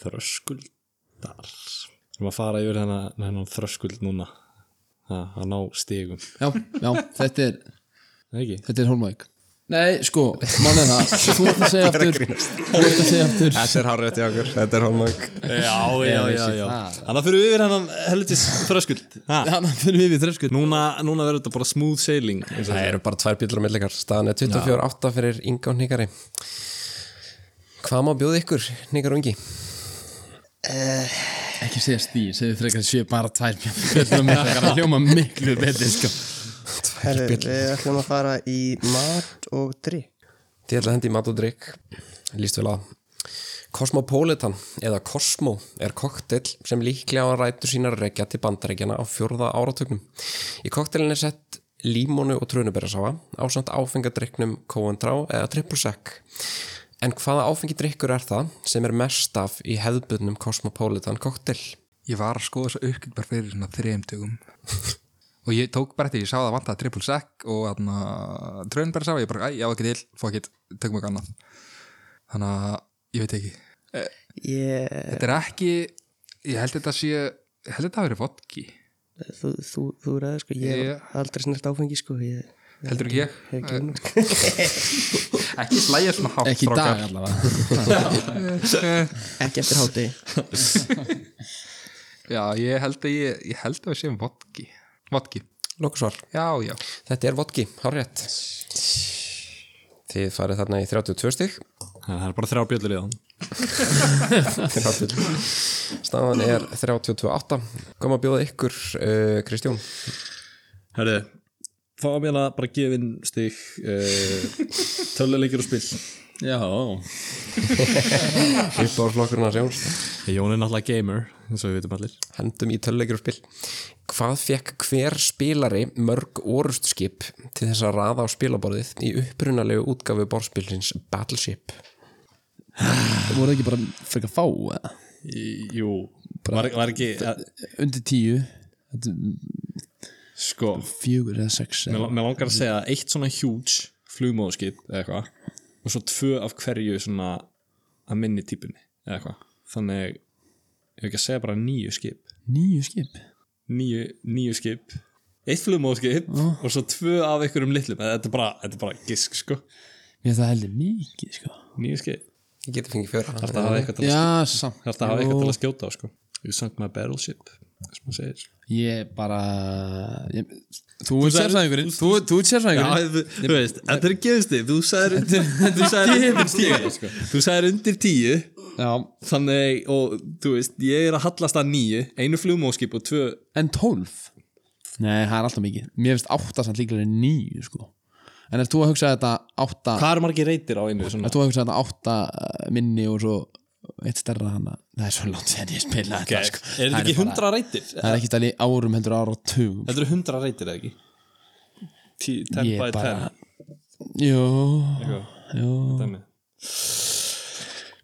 Þröskuldar Við erum að fara yfir hennar, hennar þröskuld núna Ha, að ná stigum Já, já, þetta er, Nei, ekki? þetta er Hólmavík Nei, sko, mannið það Þú ert að segja aftur Þú ert að segja aftur Þetta er hárrétt í okkur, þetta er holmögg. Já, já, já, já Þannig fyrir við yfir hennan helvitis þröskuld ha. Þannig finnum við við þröskull Núna, núna verður þetta bara smooth sailing eins og Það eru bara tvær bílar á millikar staðan er 24-8 fyrir Inga og Hnikari Hvað má bjóða ykkur, Hnikar og Ingi? Ekki segja stíl, segðu frekar séu bara tvær bjöllum með það að hljóma miklu betur sko. Herri, við ætlum að fara í mat og drikk Þið ætla að hendi í mat og drikk Lýst vel að Cosmopolitan eða Cosmo er koktel sem líklega á rætur sínar að rekja til bandarækjana á fjórða áratögnum Í koktelin er sett límónu og trunuberasáfa ásamt áfengadrykknum Coentrá eða Triple Sec En hvaða áfengi drikkur er það sem er mest af í hefðbundnum Cosmopolitan koktel? Ég var að skoða þess að uppgjöld bara fyrir svona þrejum tökum Og ég tók bara eftir, ég sá það vantaði triple sec og þarna tröðin bara sá, ég bara, æ, já ekki til, fuck it, tökum ekki annað Þannig að, ég veit ekki ég, Þetta er ekki, ég held þetta sé, ég held þetta hafi verið vodki þú, þú, þú ræður sko ég Ég- hef aldrei snert áfengi sko ég Heldur ekki ég? hef ekki unnið. Ekki slæja svona hátt Ekki í dag strákar. allavega ekki eftir háti Já, ég held að ég, ég held að við séum vodki Vodki, Lókusvar já, já Þetta er vodki, hárétt Þið farið þarna í 32 stig Það er bara þrjá bjöllur í það Staðan er 32-8 Kom að bjóða ykkur, uh, Kristjón Herri, fá mér að bara gefa inn stig uh, töluleikir og spil Já, Uppáðurflokkurinn að sjón Jón er náttúrulega gamer, eins og við vitum allir Hendum í töluleikir og spil Hvað fekk hver spilari mörg orustskip til þess að raða á spilaborðið í upprunalegu útgafu borðspilsins Battleship voru ekki bara frekar fá eða? Í- Jú, var, var ekki eh, að, Undir tíu þetta er Sko, Fjögur eða sex mér eða. lang- mér langar að segja að eitt svona huge flugmóðskip eða eitthvað og svo tvö af hverju svona að minni típunni eða eitthvað Þannig, ég hef ekki að segja bara nýju skip Níu skip Nýju, nýju skip Eitt flugmóðskip og svo tvö af einhverjum litlum Þetta er bara, þetta er bara gisk, sko Mér finnst það heldur mikið sko. Nýju skip Ég geti fengið fjöra Þetta hafa eitthvað til að Já, samt Það hafa eitthvað til að skjóta á sko You sunk my battleship sem maður segir sko. Ég bara ég, Þú ert sérfræðingurinn Þú þú ert sérfræðingurinn þú, þú veist, þetta er geðstig Þú sagðir Þú sagðir undir tíu sko. Þú sagðir undir tíu Já, Þannig, og þú veist, ég er að hallast að nýju Einu flugmóskip og tvö en tólf Nei, það er alltaf mikið Mér finnst átta samt líklega en níu sko. En ert þú að hugsa þetta átta Hvað eru margir reytir á einu? Ert þú að hugsa þetta átta eh, minni og svo eitt stærra hana Það er svo langt sem ég spila þetta Er sko. þetta ekki bara- hundra reytir? Það er ekki tali árum hendur ára og tugum Þetta eru hundra reytir eða ekki? Tí- 10 Ég by bara- 10 Jó, eitthvað, jó dæmi.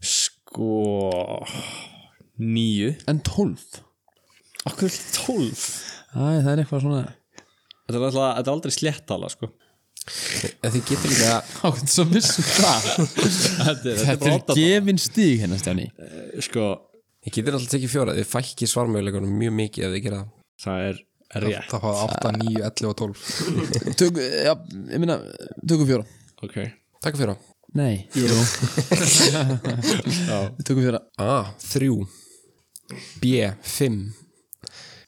Sko Nýju En tólf Akkur tólf Æ, það er eitthvað svona Þetta er, alltaf, þetta er aldrei sléttala sko En þið getur líka Ákveð svo vissum það Þetta er, Þetta er bara gefin stíg hérna Stjáni oddata. Sko, Þið getur alltaf tekið fjóra, þið fækki svarmöguleikunum mjög mikið ef þið gera það það er rétt Það fáið 8, 9, 11 og 12 Tök, já, ég meina, tökum fjóra Ok Takk fjóra Nei, jú Tökum fjóra A. 3 B. 5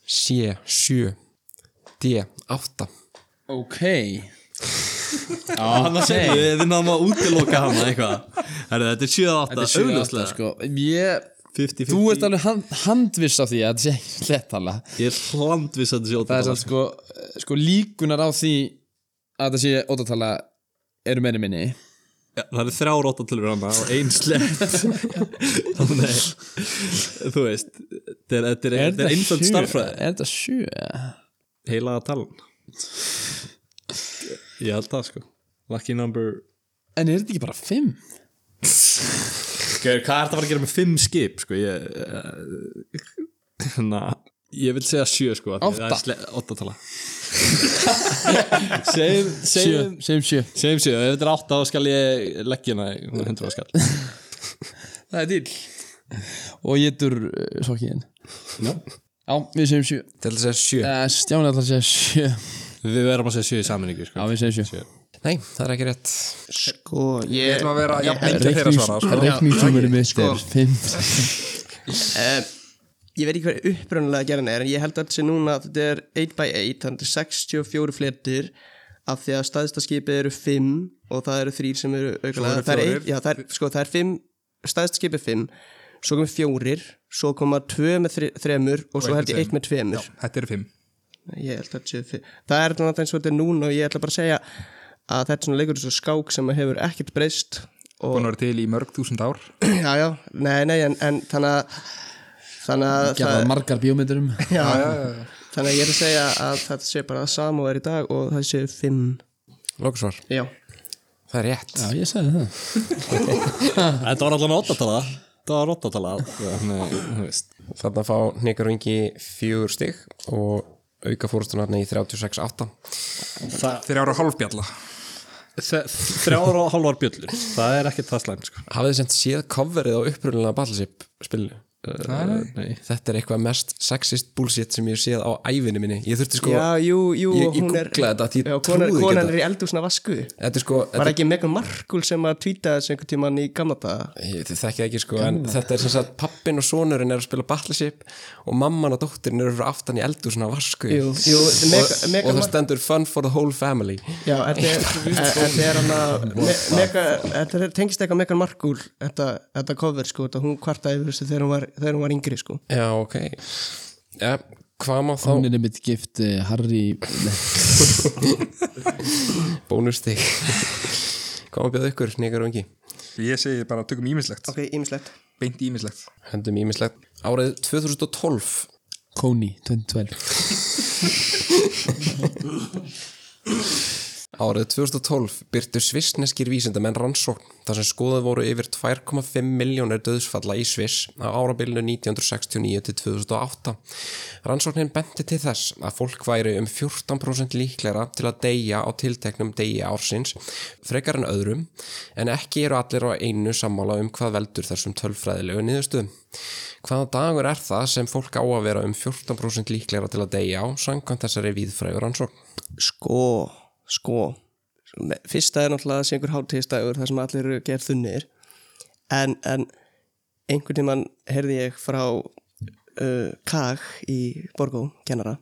C. 7 D. 8 Ok Þannig að segja, við náðum að útiloka hana eitthvað Herri, Þetta er 7-8 Þetta er sjö átta, sko Ég, 50-50 þú ert alveg hand, handviss á því að þetta sé ekki hlettala Ég er hlandviss að þetta sé Það er 8 samt sko, sko líkunar á því að þetta sé óttatala eru meiri minni Já, það eru þrjár óttatölur hana og ein slett Þannig að þú veist þetta er- þetta er, þetta er einföld starffræði Er þetta sjö? heilaða talan um. Ég held það sko Lucky number En er þetta ekki bara fimm? Gauður, hvað er þetta að fara að gera með fimm skip sko ég Þannig að Ég vil segja sjö sko af því Átta. það er sle- Átta tala Segjum Sjö, Segjum segjum sjö Segjum sjö Ef þetta er átta þá skal ég leggja hana í hundra skall Það er til Og ég dur uh, sokkiðin Já. Já, við segjum sjö Til þess að segja uh, Stjáni ætlar að segja sjö Við verðum að segja sjö í saminningu Já, sko við segjum sjö sjö Nei, það er ekki rétt Sko, Ég ég ætlum að vera jafn lengi að þeirra svara sko. Reikningssumurinn mitt er fimm eh, Ég veit ekki hver upprunalega gerðin er En ég held að þetta sé núna að þetta er 8x8 Þannig að þetta er 64 fletir Af því að staðstaskipið eru 5 Og það eru 3 sem eru aukvælega eru Það er, fjórir. eitt- já, það er, sko, það er 5 Staðstaskipið 5 Svo koma 4 Svo koma 2 með 3 Og svo eitt held ég með 1 með 2 Já, Þetta eru 5 Ég held að þetta sé fyrir Það er þannig eins og þetta er núna og ég ætla bara að segja að þetta er svona leikur svo skák sem hefur ekkert breyst og Búin að vera til í mörg þúsund ár já, já, nei, nei, en, en þannig að þannig að, Gerða margar um- bíómyndurum já, þannig að ég er að segja að þetta sé bara það sama og er í dag og það sé fimm Lókusvar, já, það er rétt Já, ég sagði það Þetta var allan óttatala Þetta var óttatala Þannig, þú veist Þannig að fá Nikur Ingi fjögur stig og auka fórustunarni í 36-8 Þeir eru hálfbjalla Þrjára og hálfar bjöllur Það er ekkert það slæmt sko Hafið þið sem séð coverið á upprunlega Battleship spilinu? Nei Þetta er eitthvað mest sexist bullshit sem ég hef séð á ævinni minni Ég þurfti sko, já, jú, jú Ég- og ég hún er- googlaði þetta, því ég já, konan, trúði ekki konan þetta. er í eldúsna vasku þetta er sko var þetta, ekki Megan Markle sem að tvíta þessu einhvern tíman í gamla daga Ég þið þekkið ekki sko, en þetta er sem sagt pappin og sonurinn er að spila Battleship og mamman og dóttirinn eru frá aftan í eldu svona vasku Jú, jú, og, Megan- og Megan það Markle- stendur fun for the whole family Já, þetta er- e- þetta er hann að me- mega- Þetta er- tengist eitthvað megan markúl þetta, þetta cover sko, þetta hún kvartaði yfir þessu þegar hún var, þegar hún var yngri sko Já, ok ja, Hvað má þá Hún er einmitt gift uh, Harry Nei, bónustig Hvað má bjóða ykkur, Nikar og Ingi? Ég segi bara tökum ímislegt Ok, ímislegt Beint ímislegt Hendum ímislegt Árið 2012 Kony 2012 Árið 2012 byrtu svissneskir vísindamenn rannsókn þar sem skoðuð voru yfir 2,5 miljónir döðsfalla í Sviss á árabilinu 1969-2008. Rannsóknin benti til þess að fólk væri um 14% líklegra til að deyja á tilteknum degi ársins frekar en öðrum en ekki eru allir á einu sammála um hvað veldur þessum tölfræðilegu niðurstöðum. Hvaða dagur er það sem fólk á að vera um 14% líklegra til að deyja á samkvæmt þessari víðfrægur rannsókn? Sko, sko Me- Fyrsta er náttúrulega að sé einhver hátíðstægur þar sem allir eru gerð þunnir en, en einhvern tíman heyrði ég frá uh, KAG í Borgó, kennara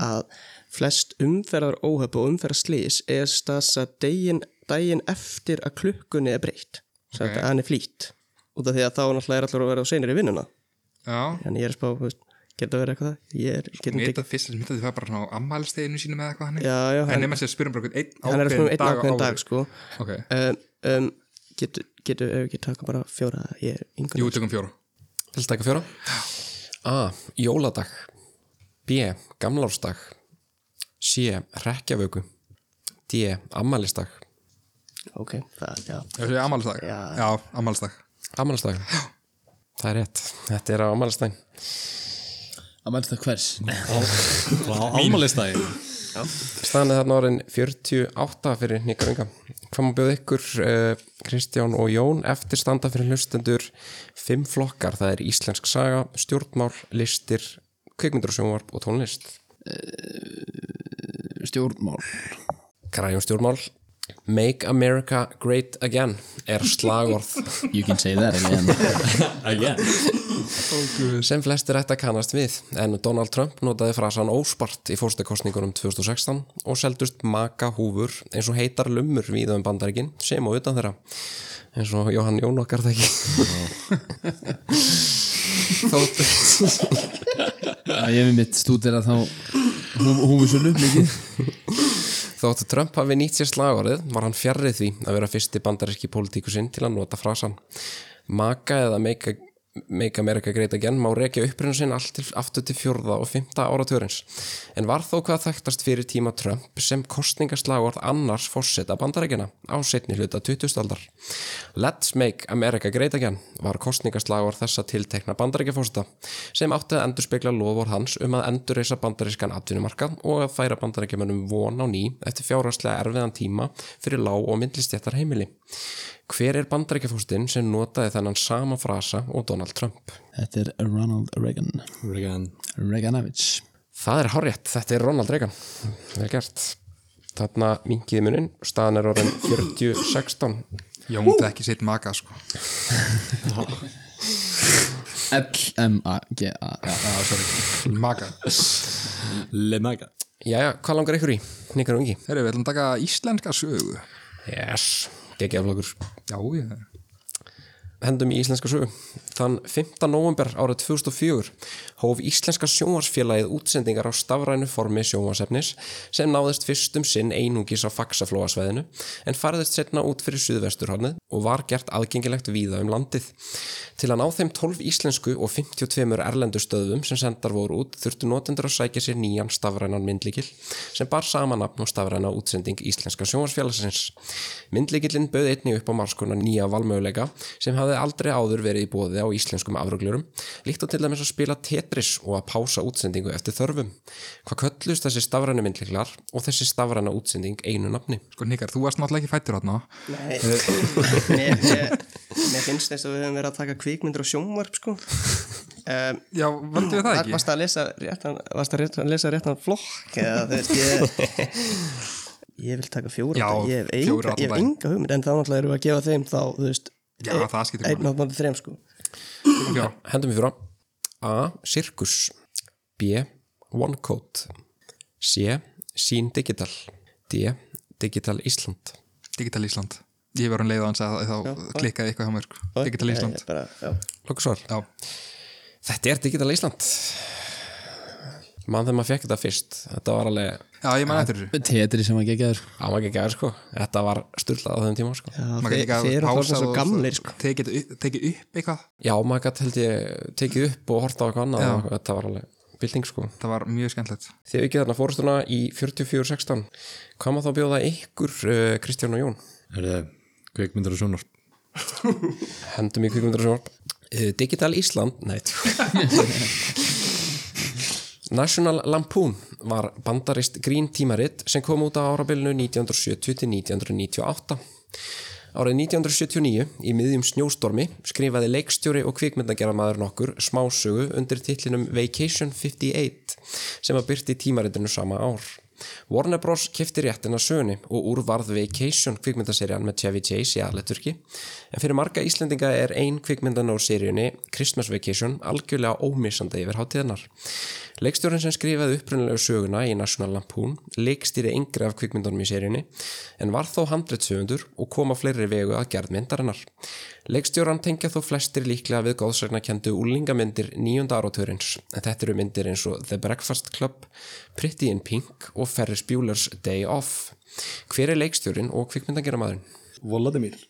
að flest umferðar óhöp og umferðar slís er stas að daginn, daginn eftir að klukkunni er breytt okay. að hann er flýtt út af því að þá náttúrulega er allir að vera á seinir í vinnuna Já en ég er að spá, þú veist, getur það verið eitthvað það? ég er, getur Mér ekki þetta fyrst sem þetta þið var bara svona á ammælsteginu sínum eða eitthvað hannig Já, já, En hann- nema sér spyrum bara einhvern hann er að spyrja um einn einn ákveðin ákveðin dag sko Ok, um, um, getur getu, ef ekki taka bara fjóra ég er yngur jú, tökum fjóra Vil taka fjóra? A. Jóladag B. Gamlársdag C. Rekkjavöku D. Ammælisdag ok, það, já Ef þið ammælsdag Já, já ammælsdag Ammælisdag Það er rétt, þetta er á ammælistæn Að mælst það hvers? Á ámalistæði Staðan er þarna orðin 48 fyrir nýkringa. Hvað má bjóða ykkur uh, Kristján og Jón eftir standa fyrir hlustendur fimm flokkar, það er íslensk saga, stjórnmál, listir, kvikmyndur og sjónvarp og tónlist. Stjórnmál Græjum stjórnmál. Make America Great Again er slagorð You can say that again Again sem flestir ætti að kannast við en Donald Trump notaði frasan óspart í fórstakostningunum 2016 og seldust maka húfur eins og heitar lummur við um bandaríkin sem og utan þeirra eins og Jóhann Jón okkar það ekki þótt Ég hef mitt stútir að þá húfusölu mikið Þótt Trump hafi nýtt sér slagorðið var hann fjarrið því að vera fyrsti bandaríski pólitíkusinn til að nota frasan. Maka eða Make, make America Great Again má rekja upprunn sinn allt til aftur til fjórða og fymta áratörins. En var þó hvað þekktast fyrir tíma Trump sem kostningaslagorð annars fórseta bandaríkina á setni hluta 20. aldar. Let's Make America Great Again var kostningaslagorð þessa tiltekna bandaríkjafórseta sem átti að endurspegla lofur hans um að endurreisa bandarískan atvinnumarkað og að færa bandaríkjamönnum von á ný eftir fjárhagslega erfiðan tíma fyrir lág- og myndlistjættar heimili. Hver er bandaríkjafórstin sem notaði þennan sama frasa og Donald Trump? Þetta er Ronald Reagan Again Reaganovich Það er hárétt, þetta er Ronald Reagan Vel gert Þarna minkiði munin, staðan er orðin 40-16 Jón þekki sitt maka sko L-M-A-G-A Já, já, sorry Maka Le Maga Jæja, hvað langar ykkur í? Nikkar ungi Herru, við ætlum að taka íslenska sögu Yes, geggjaflokur Já, ég hendum í íslenska sögu. Þann 15. november árið 2004 hóf Íslenska sjónvarsfélagið útsendingar á stafrænu formi sjónvarsefnis sem náðist fyrstum sinn einungis á faxaflóasveðinu en farðist setna út fyrir suðvesturhornið og var gert aðgengilegt víða um landið. Til að ná þeim 12 íslensku og 52 erlendu stöðum sem sendar voru út þurftu notendur að sækja sér nýjan stafrænan myndlíkil sem bar sama nafn og stafræna útsending Íslenska sjónvarsfélagsins. Myndlíkillin bauð einnig upp á marskona nýja valmöguleika sem hafði aldrei áður verið í bóði á íslenskum afruglurum, líkt og til dæmis að spila Tetris og að pása útsendingu eftir þörfum. Hvað köllust þessi stafræna myndlíklar og þessi stafræna útsending einu nafni? Sko Nikar, þú varst náttúrulega ekki fættur hann Nei, Eh, mér, mér, mér finnst þess að við höfum verið að taka kvikmyndir og sjónvarp sko um, Já, völdum við það Var, ekki? varst að lesa réttan varst að réttan, lesa réttan flokk eða þú veist ég ég vil taka fjóra Já, þetta, ég hef fjóra enga, allan ég hef daginn. enga hugmynd en þá náttúrulega erum við að gefa þeim þá þú veist Já, það skiptir einn á bándi þreim sko Já, Hendum við fjóra. A. Sirkus B. OneCode C. Sýn Digital D. Digital Ísland Digital Ísland Ég var hann leið á hans að þá klikkaði eitthvað hjá mér sko. Digital Ísland Ég Eh, bara, já. Lókusvar Já, Þetta er Digital Ísland Mann þegar maður fekk þetta fyrst Þetta var alveg já ég man eftir þessu Tetri sem að gegja þér ámæg ekki aðeins sko Þetta var sturlað á þeim tíma sko Já, Maður þeir, líka þeir eru pása þarna svo og- gamlir sko Tekið tekið upp eitthvað Já, maður gætt held ég tekið upp og horta á eitthvað annað og Þetta var alveg bilding sko Það var mjög skemmtilegt Þið hefur ekki þarna fórustuna í 44.16 Hvað maður þá bjóða ykkur uh, Kristján og Jón? Er það kveikmyndur og sjónar Hendum í kvikmyndar og sjónvarp Digital Ísland Nei National Lampoon var bandarist grín tímaritt sem kom út á árabilinu 1970-1998 Árið 1979, í miðjum snjóstormi, skrifaði leikstjóri og kvikmyndagerðamaður nokkur smásögu undir titlinum Vacation 58 sem að byrti tímaritinu sama ár. Warner Bros. kefti réttina sögunni og úr varð Vacation kvikmyndaserían með Chevy Chase í aðleturki en fyrir marga Íslendinga er ein kvikmyndan á seríunni Christmas Vacation algjörlega ómissandi yfir hátíðanar Leikstjórin sem skrifaði upprunalegu söguna í National Lampoon leikstýri yngri af kvikmyndunum í seríunni en var þó handritsöfundur og kom á fleiri vegu að gerð myndarinnar Leikstjóran tengja þó flestir líklega við góðsagnakendu úlingamyndir nýjunda áratörins en þetta eru myndir eins og The Breakfast Club, Pretty in Pink og Ferris Bueller's Day Off Hver er leikstjórin og kvikmyndangeramæðurinn? Voladimir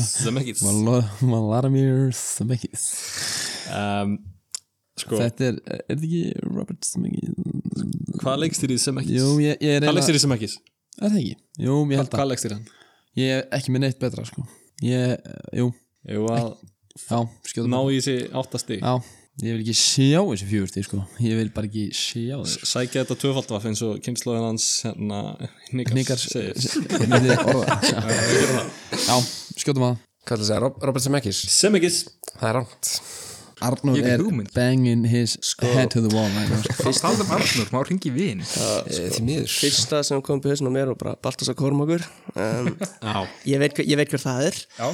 Zemekis Vladimir Zemeckis um, Sko, Þetta er, er þetta ekki Robert Zemeckis? hvað leikst þér í Zemekis? Jú, ég, ég er Hvað leikst eiginlega- þér í Zemekis? Er það ekki? Jú, ég held Hvað að leikst þér hann? Ég er ekki með neitt betra sko Ég, jú, Jú að já, skjóðum ná í þessi áttastig Já, Ég vil ekki sjá þessi fjögurti sko Ég vil bara ekki sjá sko. þessu Sækja þetta tvöfaldvaf eins og kynnslóðin hans hérna, Hnikar Hnikars segir Já, Já, skjótum að Hvað ætlaði að segja? Rob- Robert Zemeckis? Sem ekki Það er rámt. Arnur Ég hef er Sko- hugmynd. banging his head to the wall sko. right now. Talðum Arnur, má ringi vin Eh, Því miður. fyrsta sem kom upp í hausnum á mér og bara Baltasar Kormokur um, ég, veit, hver- ég veit hver það er Já.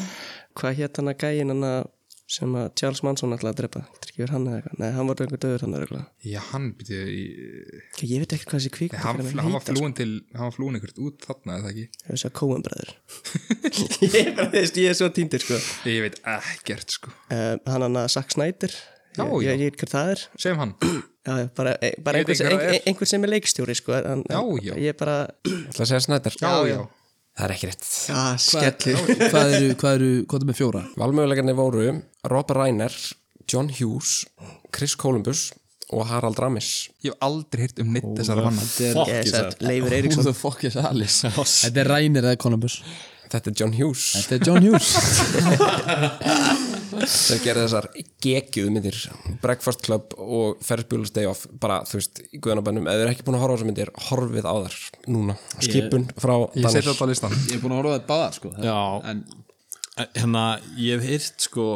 hvað hétt hann að gæin hann að sem að Charles Manson ætlaði að drepa Þetta er ekki verið hann eða eitthvað, nei hann var einhver döður hann eitthvað Já, hann byrju í ég veit ekki hvað þessi kvík Nei, hann, fl- hann var flúin til, hann var flúin ykkert út þarna eða ekki sko. ég veist að Coen bræður ég, er bara, þú veist, ég er svo týndir sko Ég veit ekkert sko um, hann hann að Zack Snyder Já, ég, já. ég, ég veit hver það er Segjum hann já, já, bara, e, bara Ég veit ekki einhver, sem, hver það ein, er. einhver sem er leikstjóri sko hann, Já, já. ég bara Ætlaði að segja Snæder? Já, já Það er ekki rétt. ah, skellir Hvað eru, hvað eru, hvað er með fjóra? Valmögulegarnir voru Rob Reiner, John Hughes, Chris Columbus og Harald Ramis. Ég hef aldrei hýrt um neitt þessara manna Fuck Ég is sagði, that Leifur Who Eiríksson the fuck is Alice? Þetta er Rænir eða Columbus Þetta er John Hughes Þetta er John Hughes sem gerði þessar gegjuð myndir Breakfast Club og Ferris Bueller's Day Off bara, þú veist, í guðanabænum ef þið er ekki búin að horfa á þessar myndir, horfið á þar núna, skipun frá Ég Danir. seti þetta á listan Ég er búin að horfa að þetta báðar sko Já. En Hérna, ég hef heyrt sko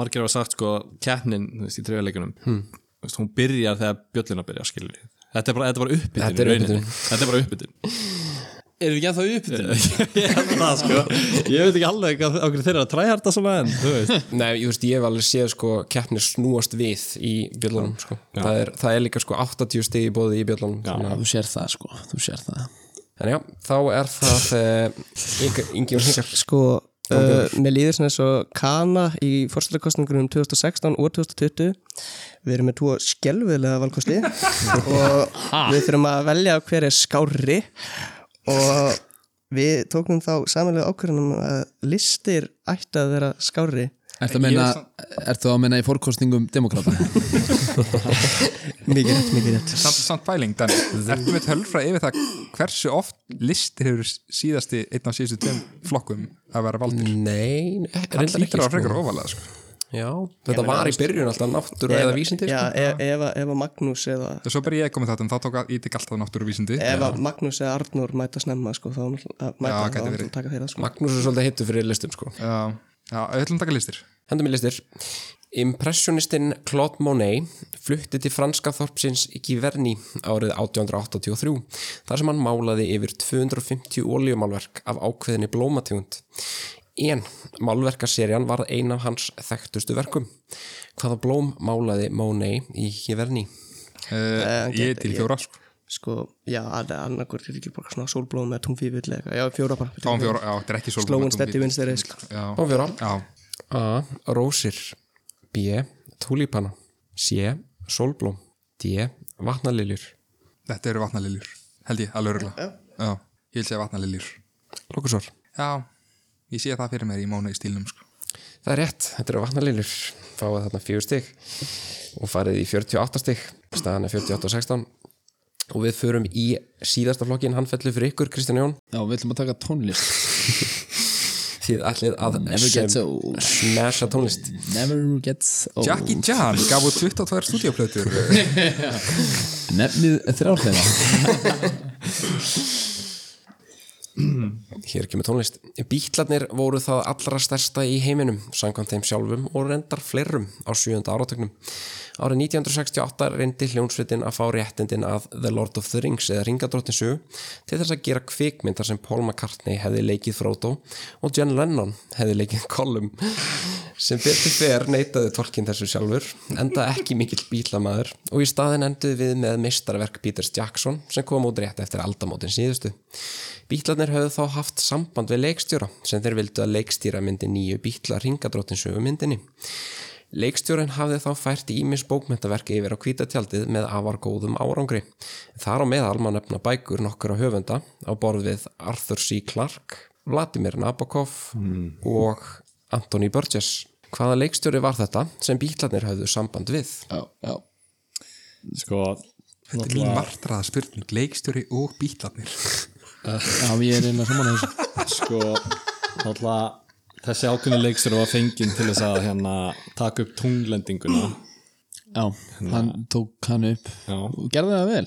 margir hafa sagt sko keppnin þú veist, í trefjarleikunum hmm. hún byrjar þegar bjöllina byrjar skilur Þetta er bara, þetta er bara uppbytun Þetta er í rauninni. uppbytun. Þetta er bara uppbytun Erum við ekki að það upp þetta? Ég held það sko Ég veit ekki alveg hvað- á hverju þeir eru að træharta svona en þú veist Nei, ég veist, ég hef alveg séð sko keppni snúast við í bjöllunum sko. það, er, það er líka sko 80 stig í bóði í bjöllunum þannig að- Þú sér það sko, þú sér það en já, þá er það uh, Ingi og Hingar sko uh, mér líður svona eins og Kana í fórstæðarkostningunum 2016 og 2020 við erum með tvo skelvilega valkosti og við þurfum að velja hver er skári og við tókum þá samanlega ákvörðunum að listir ætti að vera skári Ertu að meina, ertu að meina í fórkostningum demokrata? mikið rétt, mikið rétt Samt, samt pæling, Dan Ertu með tölfra yfir það hversu oft listir hefur síðasti einn af síðustu tveim flokkum að vera valdir Nei, Það reyndar lítur að vera ekki frekar sko. ofalega Mm, sko. Já, þetta var í byrjun alltaf náttúru eða vísindir já, sko. ef, ef, að- ef að Magnús eða Og Svo byrja ég að koma þetta en þá tók að ítik alltaf náttúruvísindi ef að Magnús eða Arnur mæta snemma sko, þá að mæta gæti þá að verið. taka þeirra sko. Magnús er svolítið hittu fyrir listum sko. Já, já, við ætlum að taka listir Hendum í listir. Impressionistinn Claude Monet flutti til franska þorpsins Giverny árið 1883 þar sem hann málaði yfir 250 oljumálverk af ákveðinni blómategund. En málverkaserjan var ein af hans þekktustu verkum. Hvaða blóm málaði Monet í Giverny? uh, Ég er til fjóra sko. sko, já, það er annarkur er ekki bara svona sólblóm með túnfífill eða eitthvað, já, fjóra bara Þá um fjóra, já, þetta er ekki svolítið Slóin steddi vinstri sko. Já, Á fjóra. já A. Rósir B. Túlipana C. Sólblóm D. Vatnaliljur Þetta eru vatnaliljur, held ég, alveg örgla Já, ég vil segja vatnaliljur Lókusvar Já, ég sé það fyrir mér í mánu í stílnum sko. Það er rétt, þetta eru vatnaliljur fáið þarna fjögur stig og farið í 48 stig staðan er 48 og 16 og við förum í síðasta flokkin hann fellur fyrir ykkur Kristján Jón Já, við ætlum að taka tónlist þið ætlið að Never gets old. smasha tónlist Never gets old Jackie Chan gaf út 22 stúdíoplötur Nefnið þrjárlega Hér kemur tónlist. Bítlarnir voru það allra stærsta í heiminum, samkvæmt þeim sjálfum og reyndar flerum á 7. áratögnum. Árið 1968 reyndi hljónsvitin að fá réttindin að The Lord of the Rings eða Ringadróttinsu til þess að gera kvikmyndar sem Paul McCartney hefði leikið Frodo og John Lennon hefði leikið Gollum. Sem betur fer neytaði Tolkien þessu sjálfur, enda ekki mikill bílamæður og í staðin enduði við með mistarverk Peters Jackson sem kom út rétt eftir aldamótin síðustu. Bítlarnir höfðu þá haft samband við leikstjóra sem þeir vildu að leikstýra myndi nýju bítla ringadrótinsögu myndinni. Leikstjórin hafði þá fært ímis bókmyndaverki yfir á kvítatjaldið með afar góðum árangri. Þar á meðal má nefna bækur nokkur á höfunda á borð við Arthur C. Clarke, Vladimir Nabokov og Anthony Burgess. Hvaða leikstjóri var þetta sem bítlarnir höfðu samband við? Já, já Sko Þetta er mín martraða spurning leikstjóri og bítlarnir Já, ég er einnig að saman þessu sko alltaf þessi ákveðni leikstur var fenginn til þess að hérna, taka upp tunglendinguna Já, hann tók hann upp Já. og gerði það vel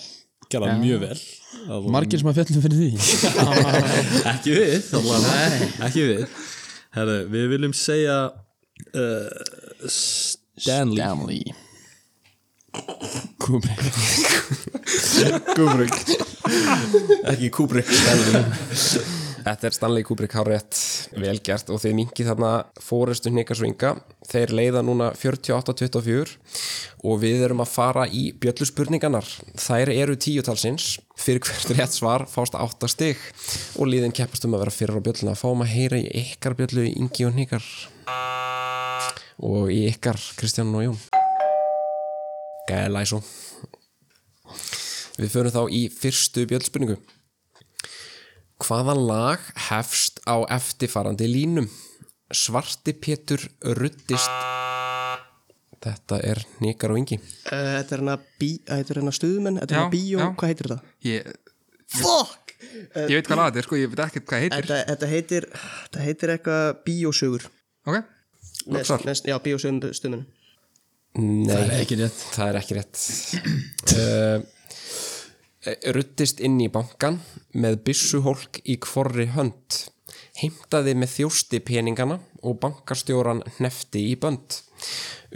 gera það mjög vel Það voru- Margir sem að fjallum fyrir því ekki við allavega. ekki við Herðu, við viljum segja uh, Stanley Stanley Kubrick Kubrick Ekki Kubrick Stanley Þetta er Stanley Kubrick hárétt velgert og þið mingi þarna fórustu hnikarsvinga þeir leiða núna 48-24 og við erum að fara í bjölluspurningarnar þær eru tíutalsins fyrir hvert rétt svar fást átta stig og liðin keppast um að vera fyrir á bjölluna fáum að heyra í ykkar bjöllu í Ingi og hnikar og í ykkar Kristján og Jón Gæla í svo Við förum þá í fyrstu bjöldspurningu. Hvaða lag hefst á eftirfarandi línum? Svarti Pétur ruddist. Þetta er Nikar og Ingi. Uh, Þetta er hana bí, að þetta er hana stuðmenn Þetta er Já, hana bíó, já. hvað heitir þetta? Ég, Fuck! ég veit hvað laðið er, sko, ég veit ekkert hvað heitir Þetta, þetta heitir, þetta heitir eitthvað bíósögur Ok, Nest, nest, Já, bíósögum stuðmenn Nei, það er ekki rétt. Það er ekki rétt. uh, ruddist inn í bankan með byssuhólk í kvorri hönd. Heimtaði með þjósti peningana og bankastjóran hnefti í bönd.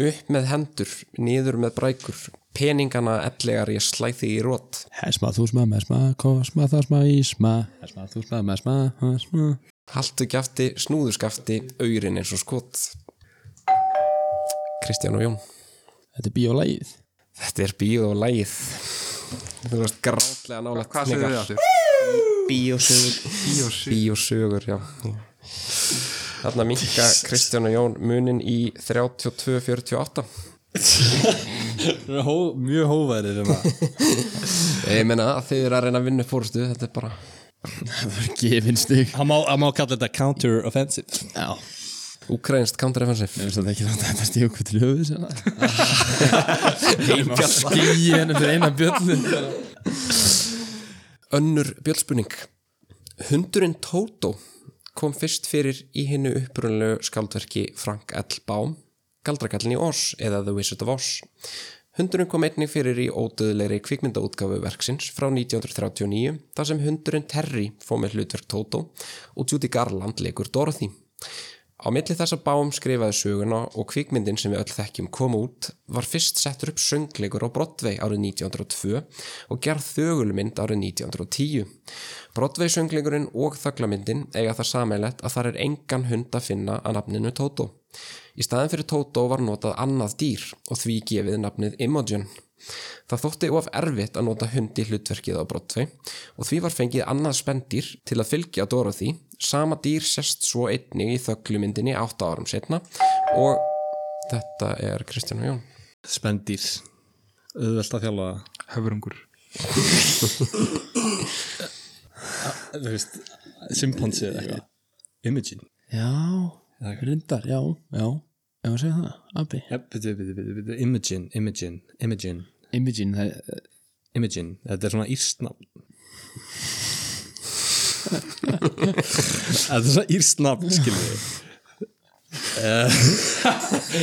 Upp með hendur, niður með brækur, peningana ellegar ég slæði í rót. Hesma þú sma, mesma, kosma, það sma, ísma Hesma þú sma, mesma, hasma Haltu kjafti, snúðu skafti, aurin eins og skot. Kristján og Jón. Þetta er bíólægið Þetta er bíð og lægið. Þú veist grátlega nálega hvað segir þið aftur? Bíósögur Bíosögur, já Þarna minka Kristján og Jón munin í 32-48 Hó, mjög hóværir um það Ég meina að þið eru að reyna að vinna fórstu Þetta er bara Gefin stig hann má, hann má kalla þetta counter offensive Já, ukrainst counter-offensive nefnst þetta ekki rátt að þetta stig okkur til hérna. höfuð sem það Heimja skýi henni fyrir eina bjöllu Önnur bjöldspunning Hundurinn Tótó kom fyrst fyrir í hinnu upprunlegu skaldverki Frank L. Baum Galdrakallin í Oz eða The Wizard of Oz Hundurinn kom einnig fyrir í ódöðlegri kvikmyndaútgáfu verksins frá 1939 þar sem hundurinn Terry fóð með hlutverk Tótó og Judy Garland leikur Dorothy Á milli þess að Baum skrifaði söguna og kvikmyndin sem við öll þekkjum kom út var fyrst settur upp söngleikur á Broadway árið 1902 og gerð þögulmynd árið 1910. Broadway söngleikurinn og þöglamyndin eiga það sameiglegt að þar er engan hund að finna að nafninu Toto. Í staðin fyrir Toto var notað annað dýr og því gefið nafnið Imogen. Það þótti of erfitt að nota hundi hlutverkið á Broadway og því var fengið annað spendýr til að fylgja Dorothy. Sama dýr sérst svo einnig í þöglumyndinni átta árum setna og þetta er Kristján og Jón. spendýr auðvelt að þjálfa það. Höfrungur þú veist, simpansi eða eitthvað Imogen Já, rindar, já, já Ef að segja það, abbi ja, bitu, bitu, bitu, bitu. Imogen, Imogen, Imogen Imagine, það Imogen, þetta er svona írsnafn Þetta er svona írsnafn, skilur við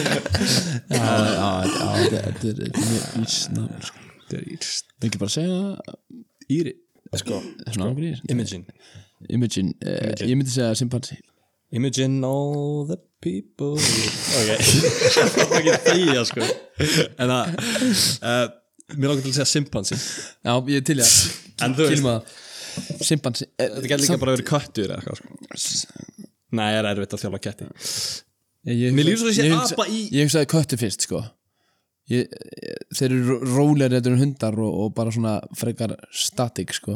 Já, já, þetta er- þetta er þetta er mjög írsnafn sko. Þetta er írst Það er ekki bara að segja Íri, sko, það er svona ángrís Imogen Imagine, eh, ég myndi segja simpansi Imogen all the people Ok Það var ekki þegja, sko En að uh, Mér langar til að segja simpansi Já, ég er til ég En þú veist, Simpansi eh, þetta gæti líka bara verið köttur eða eitthvað, sko Nei, það er erfitt að þjálfa ketti Mér líður svo þessi apa í- Ég hugsaði köttu fyrst, sko ég, eh, Þeir eru rólegri þetta en hundar og, og bara svona frekar statik, sko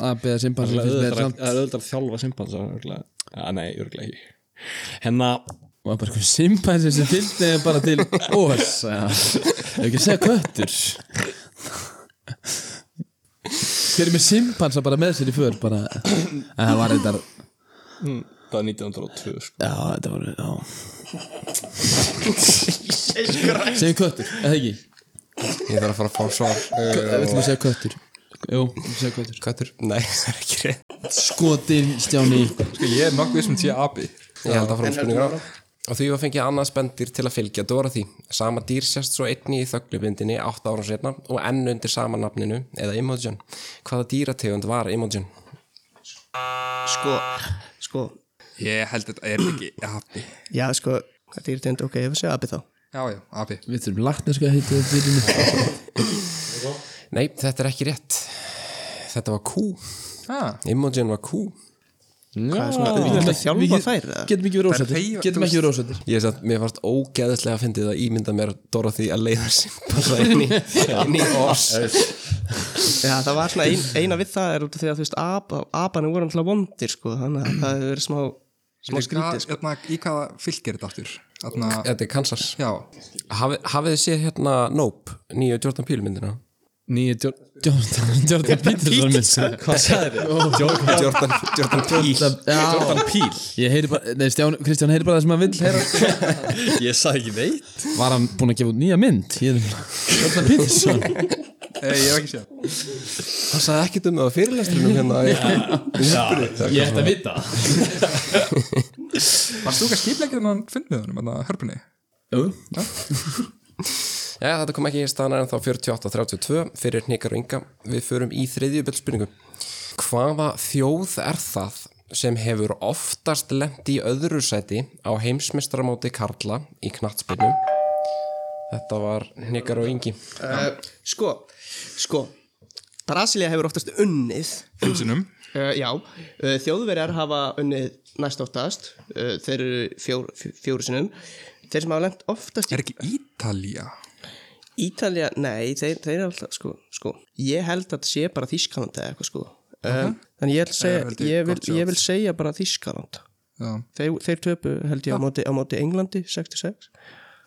Að beða simpansi Það er fyrst með auðvitað að- samt það er auðvitað að þjálfa simpansa örugglega. Ah, Nei, örglega ekki Hérna, Hennar Og bara eitthvað simpansi sem tiltið er bara til Ós, já Ég ekki að segja köttur Þeir eru með simpansa bara með sér í för bara En það var eitthvað Það er 1902 sko. Já, þetta var, já Segjum köttur, eða ekki Ég þarf að fara að fá svar. Við ætlum að segja köttur Jú, við ætlum að segja köttur Kvættur? Nei, það er ekki rétt. Skotin, Stjáni Sko, ég er nokkuð sem sé abi Ég held að fara um spurningar á. og því var fengið annað spendir til að fylgja Dorothy. Sama dýr sérst svo einni í þöglubindinni 8 ára setna og enn undir sama nafninu eða Imogen. Hvaða dýrategund var Imogen? Sko, sko, Ég held þetta er ekki api já, sko, hvað dýr tegund, ok, ég fyrir að segja api þá. Já, já, api Við þurfum lagnarska að heita dýrinu Nei, þetta er ekki rétt. Þetta var kú. ah, Imogen var kú. Hvað er svona, við getum að þjálfa þær, eða? Getum ekki verið Þær ósættir hreyfa- Getum þú ekki verið ósættir Ég er satt, mér fannst ógeðslega að fyndið að ímynda mér Dorothy að leiða simpansa inn í, inn í oss Já, það var svona ein, eina við það er út af því að þú veist, apa, apanu voru alltaf vondir, sko, þannig að það hefur verið smá, smá skrítið, sko. Þarna, hérna, Í hvaða fylg er þetta aftur? Þarna, Þetta er Kansas já, Hafi, Hafið þið séð hérna Nope, nýju Jordan Peele myndina? Nýja djórn Jordan, Jordan Peterson minn Hvað sagði þið? Jordan, Jordan Peele Jordan Píl Ég heyri bara, nei, Stján, Kristján heyri bara það sem hann vill heyra Ég sagði ekki veit Var hann búinn að gefa út nýja mynd? Ég er Jordan Peterson e, ég hef ekki séð Það sagði ekkert um það á fyrirlestrinum hérna Já, Ég ætti að vita Varst þú ekki að skipleggja þennan finnmiðunum, þarna hörpunni? Já, þetta kom ekki í staðan en þá 48-32 fyrir Hnikar og Inga Við förum í þriðjubilspurningu Hvaða þjóð er það sem hefur oftast lent í öðru sæti á heimsmeistaramóti Karla í knattspilnum? Þetta var Hnikar og Ingi Uh, sko, sko, Brasilia hefur oftast unnið, Fimsinum uh, já, uh, þjóðverjar hafa unnið næst oftast, uh, þeir eru fjór, fjór, fjóru sinum, þeir sem hafa lengt oftast í Er ekki Ítalía? Ítalja, nei, þeir, þeir eru alltaf, sko, sko, ég held að þetta sé bara Þískaland eða eitthvað, sko. Um, þannig ég, ætla Eh, held að segja, ég ég, vil, gott ég vil segja bara Þískaland. Já, Þeir, þeir töpu, held ég, á móti, á móti Englandi, 66.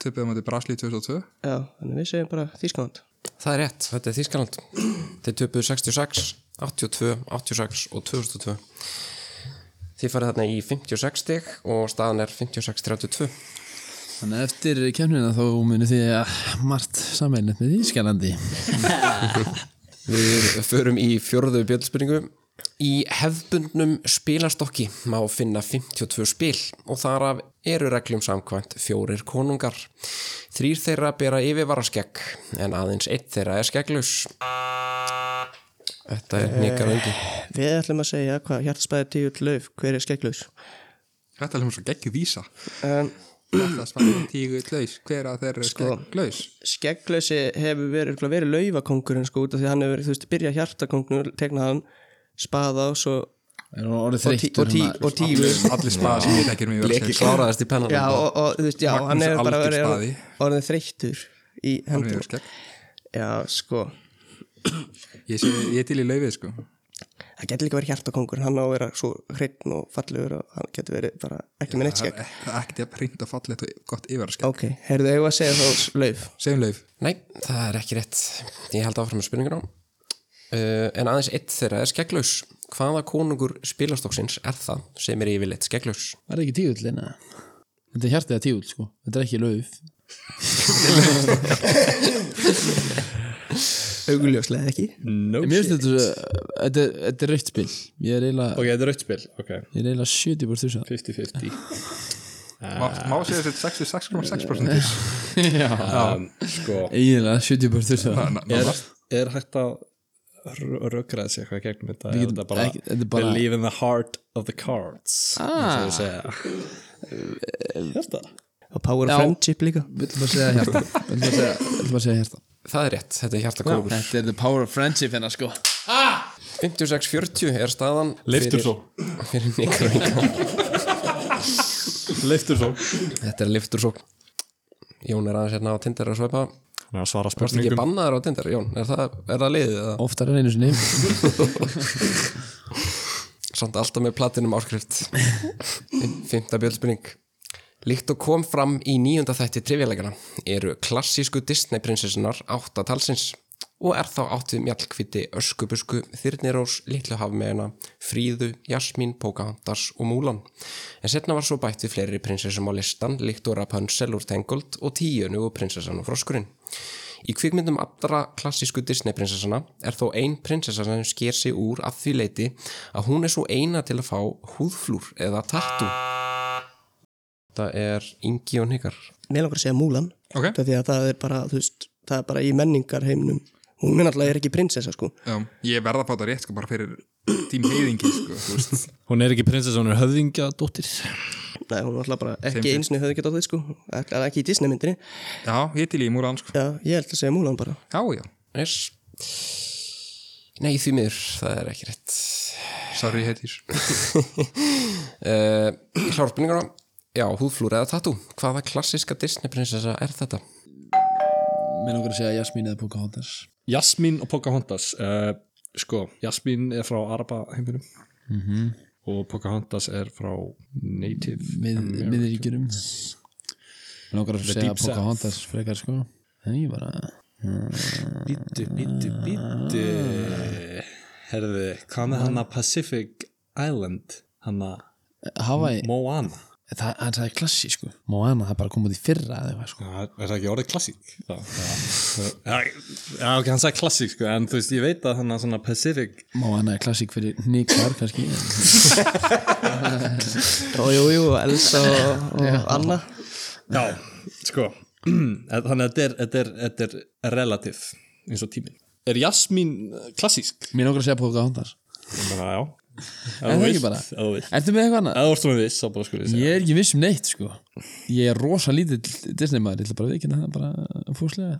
töpuðum þetta Brasli 2002 Já, þannig við segjum bara Þískaland. Það er rétt, þetta er Þískaland Þeir töpuðu 66, 82, 86 og 2002 Þið farið þarna í 56 stig og staðan er 56-32 Þannig að eftir kemnina þá munið þið að margt sammeilnett með Ískalandi Við förum í fjörðu bjöldspurningu Í hefbundnum spilastokki má finna 52 spil og þar af eru reglum samkvæmt fjórir konungar. Þrýr þeirra bera yfirvaraskegg en aðeins einn þeirra er skegglaus. Þetta er nýkar öngi. Við ætlum að segja hvað hjartaspæði tíu til lauf, hver er skegglaus? Þetta er alveg svo geggjuð vísa Um, Þetta spæði tígu laus Hver að þeir eru Sko. gegn laus? skegglausi hefur verið, örugglega verið laufakongurinn, sko, út af því að hann hefur, verið, þú veist, byrja hjartakongurinn, tegna hann, spaða og svo, Er hún orðið og, tí, þreyttur hérna? og, hann tí, að- og tíu. Allir spaða sem ég þekkir mig verið að Leki segja. kláraðast í pennan. Já, og, og þú veist, já, Magnús hann hefur bara Aldur verið Spaði. orðið þreyttur í Hann er hendur. yfir skegg. Já, sko Ég sé- ég er til í laufið sko Það getur líka verið hjartakongur, hann á að vera svo hreitn og fallegur og hann getur verið bara ekki með neitt Það skegg er það er ekkert jafn hreint og fallegt og gott yfirvarskegg Ok, heyrðu, eigum við að segja þá lauf Segjum lauf Nei, það er ekki rétt. Ég held áfram með spurninguna. Uh, en aðeins einn þeirra er skegglaus. Hvaða konungur spilastokksins er það sem er yfirleitt skegglaus? Var það ekki tíull eina? Þetta er hjartið að tíull sko Þetta er ekki lauf Augljóslega ekki no En Mér finnst þetta svo- Þetta er- þetta er rautt spil Ég er eiginlega Ok, þetta er rautt spil Ok, Ég er eiginlega 70 búr þess 50-50 Má, má segja þetta 66,6% um, Sko Eiginlega 70 búr þess er, er hægt að rökraða sér eitthvað gegnum þetta Er getum þetta bara, ekki- þetta er bara- believe in the heart of the cards ah. Hérna. eins og ég segja hérta Og power of friendship líka Villum bara segja hjarta Villum bara segja, villum bara segja hjarta Það er rétt, þetta er hjartakongur. Þetta er the power of friendship hérna sko 56-40 er staðan Leiftur fyrir- fyrir Nikar og Inga leiftur svo Þetta er liftur svo Jón er aðeins hérna á Tinder að svæpa að svara Varst ekki spurningum bannaður á Tinder, Jón? Er það, er það liðið? eða? Oftar en einu sinni Samt alltaf með platinum áskrift Fymta bjöldspurning Líkt og kom fram í nýjunda þætti trivjalegana eru klassísku Disney prinsessunar átta talsins og er þá átt við mjallkviti Öskubusku, Þyrnirós, Litlu Hafmeina, Fríðu, Jasmín, Pocahontas og Múlan. En setna var svo bætt við fleiri prinsessum á listan líkt og Rapunzel úr Tengold og Tíunu og prinsessan og Froskurinn. Í kvikmyndum allra klassísku Disney prinsessana er þó ein prinsessa sem sker sig úr að því leiti að hún er svo eina til að fá húðflúr eða tattoo. Það er Ingi og Nikar Mér langar að segja Múlan Ok. Því að það er bara, þú veist, það er bara í menningar heimnum Hún er náttúrulega ekki prinsessa sko Já, ég verða að fá þetta rétt sko bara fyrir tím heiðingi sko, þú veist Hún er ekki prinsessa, hún er höfðingja dóttir Nei, hún er náttúrulega bara Þeim ekki fyrir. einsni höfðu getað þið sko Það er ekki í Disney myndinni Já, ég til í múran sko Já, ég held að segja Múlan bara Já, já, yes. Nei, því miður, það er ekki rétt sorry heitir uh, Ég klára spurninguna Já, húðflúr eða tattoo Hvaða klassiska Disney prinsessa er þetta? Mér langar að segja Jasmín eða Pocahontas Jasmín og Pocahontas uh, Sko, Jasmín er frá Araba heiminum og Pocahontas er frá Native mið, American. miðríkjurum Mér langar að segja Deep South. Pocahontas frekar sko En ég bara Bítu, bítu, bítu Herði, hvað með hana Pacific Island hana Hawaii, Moana það, það er klassi sko Moana, það er bara komið í fyrra eða eitthvað sko Er það ekki orðið klassík? Já, já, ok, hann sagði klassík sko, en þú veist, ég veit að hann svona Pacific Moana er klassík fyrir nýkvar kannski Ó, jú, jú, Elsa og, og Anna Já, sko Þannig að þetta er, þetta er, þetta er relativ eins og tíminn Er Jasmín eh, klassísk? Mér langar að segja Pocahontas Ég meina, já Er það ekki bara? Ef þú vilt Ertu með eitthvað annað? Ef þú ert svona viss, þá bara skulle ég segja Ég er ekki viss um neitt sko Ég er rosa lítill Disney maður Ég ætla bara að viðkynna það bara fúslega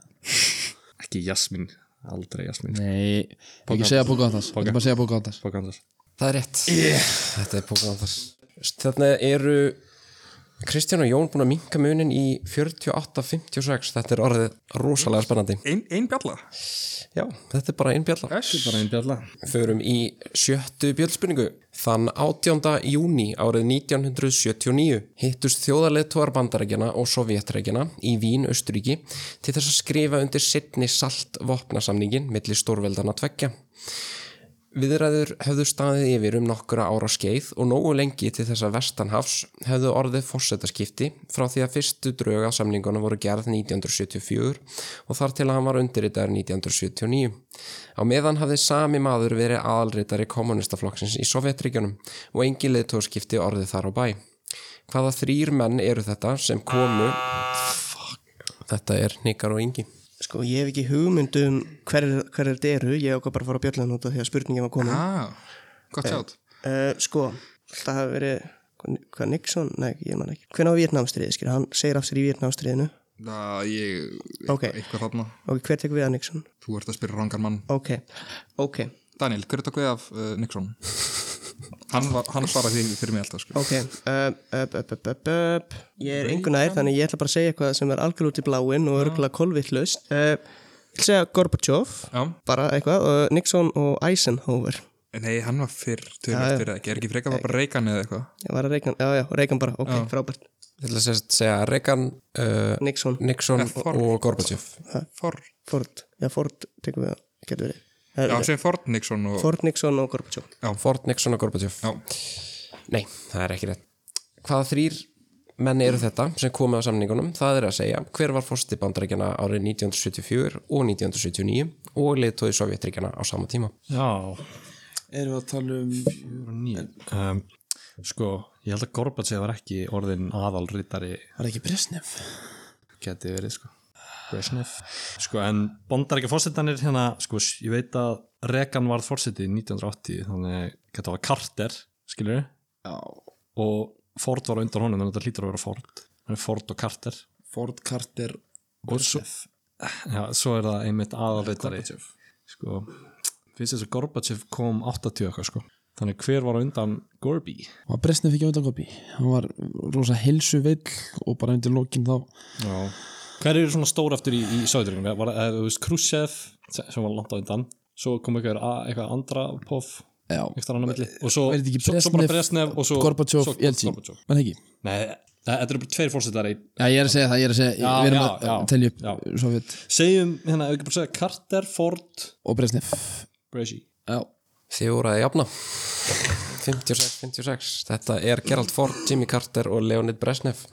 Ekki Jasmín, aldrei Jasmín Nei, Pocahontas. ekki segja Pocahontas Ég ætla bara að segja Pocahontas Pocahontas Það er rétt yeah. Þetta er Pocahontas Þarna eru Kristján og Jón búin að minka munin í 48-56 Þetta er orðið rosalega spennandi Ein, ein bjalla Já, þetta er bara einbjalla Þetta er bara einn bjalla Förum í sjöttu bjöldspurningu. Þann 18. júni árið 1979 hittust þjóðarleðtóar bandarækjana og sovjetrækjana í Vín, Östuríki til þess að skrifa undir sittni saltvopnasamningin milli stórveldana tveggja. Viðræður höfðu staðið yfir um nokkura ára skeið og nógu lengi til þess að vestanhafs höfðu orðið fórsetaskipti frá því að fyrstu drög að samningunum voru gerð 1974 og þar til að hann var undirritaður 1979. Á meðan hafði sami maður verið aðalritari kommunistaflokksins í Sovjetríkjunum og engin leiðtóðskipti orðið þar á bæ. Hvaða þrýr menn eru þetta sem komu... Þetta er Nikar og Ingi. Sko, ég hef ekki hugmynd um hver, hver er þetta eru Ég ákvað bara að fara að bjölla hann út af því að spurningin var komin ah, Gott sjátt uh, Sko, það hafi verið Hvað Nixon? Nei, ég man ekki Hvernig á Vietnamstriði, skil, hann segir af sér í Vietnamstriðinu Það ég Ok. Eitthvað þarna Ok, hver tekur við að Nixon? Þú ert að spyrja rangan mann Ok, ok, Daniel, hver er þetta við af uh, Nixon? hann, var, hann svaraði því fyrir mig alltaf sko ok uh, upp, upp, upp, upp, upp. Ég er engun aðeir, þannig ég ætla bara að segja eitthvað sem er algjör út í bláin og örgulega kolvittlust uh, Ég ætla að segja Gorbachev Já. Bara eitthvað, uh, Nixon og Eisenhower Nei, hann var fyrr, tölvöld fyrir það ekki Er ekki frekar bara reykan eða eitthvað? Ég var að Reagan, já já, Reagan bara, ok, frábært Ég ætla að segja Reagan, uh, Nixon, Nixon Ford. og Gorbachev. Ford Ford, já Ford tekur við að, getur verið Já, Herðu, sem Ford Nixon og Ford, Nixon og Gorbachev Ford, Nixon og Gorbachev Já. Nei, það er ekki rétt Hvaða þrýr menn eru þetta sem komið á samningunum, það er að segja hver var fórsti bandaríkjana árið 1974 og 1979 og leiðtóði sovjetríkjana á sama tíma Já, Erum við að tala um um, sko, ég held að Gorbachev var ekki orðin aðalritari Var ekki Bresnef? geti verið sko Brezhnev sko en bondar ekki fórsetanir hérna sko ég veit að Reagan varð fórseti 1980 þannig geta það var Carter skilur já og Ford var á undan honum þannig að þetta hlýtur að vera Ford Þannig Ford og Carter Ford Carter og svo, já, svo er það einmitt aðalritari sko finnst þess að Gorbachev kom 80 eitthvað sko þannig hver var á undan Gorby Var Bresnef ekki á undan kopi? Hann var rosa helsu og bara undir lokin þá Já. Hver eru svona stór aftur í, í Söðurinn? Var það, þú veist, Khrushchev sem var langt á undan, svo kom eitthvað, a- eitthvað andra pof Já, eitthvað annar milli og svo, Er þetta ekki svo, svo bara Brezhnev, Bresnev og svo Gorbachev, svo, Jeltsin Gorbachev. Var það ekki? Nei, þa- þetta eru bara tveir fórsetar í Já, ég er að segja það, ég er að segja Já, Við erum já, að já, telja upp já. Sovjet segjum, hérna, ef við ekki bara segja Carter, Ford, og Bresnef Brezhi Já Þjóraði jafna 56, 56 Þetta er Gerald Ford, Jimmy Carter og Leonid Brezhnev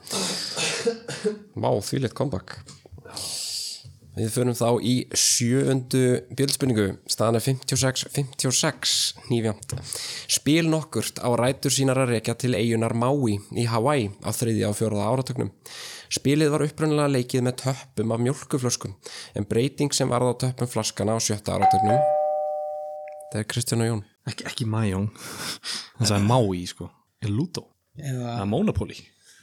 Vá, þvílitt comeback Við förum þá í sjöundu bjöldspurningu, staðan er 56-56, nýfjönd. Spil nokkurt á rætur sínar að rekja til eigunar Maui í Hawaii á þriðja og fjóraða áratögnum. Spilið var upprunnilega leikið með töppum af mjólkuflöskum, en breyting sem varð á töppum flaskana á sjötta áratögnum. Það er Kristján og Jón. Ekki, ekki Mahjong Hann sagði Maui, sko Er Ludo? Eða, Eða Monopoly?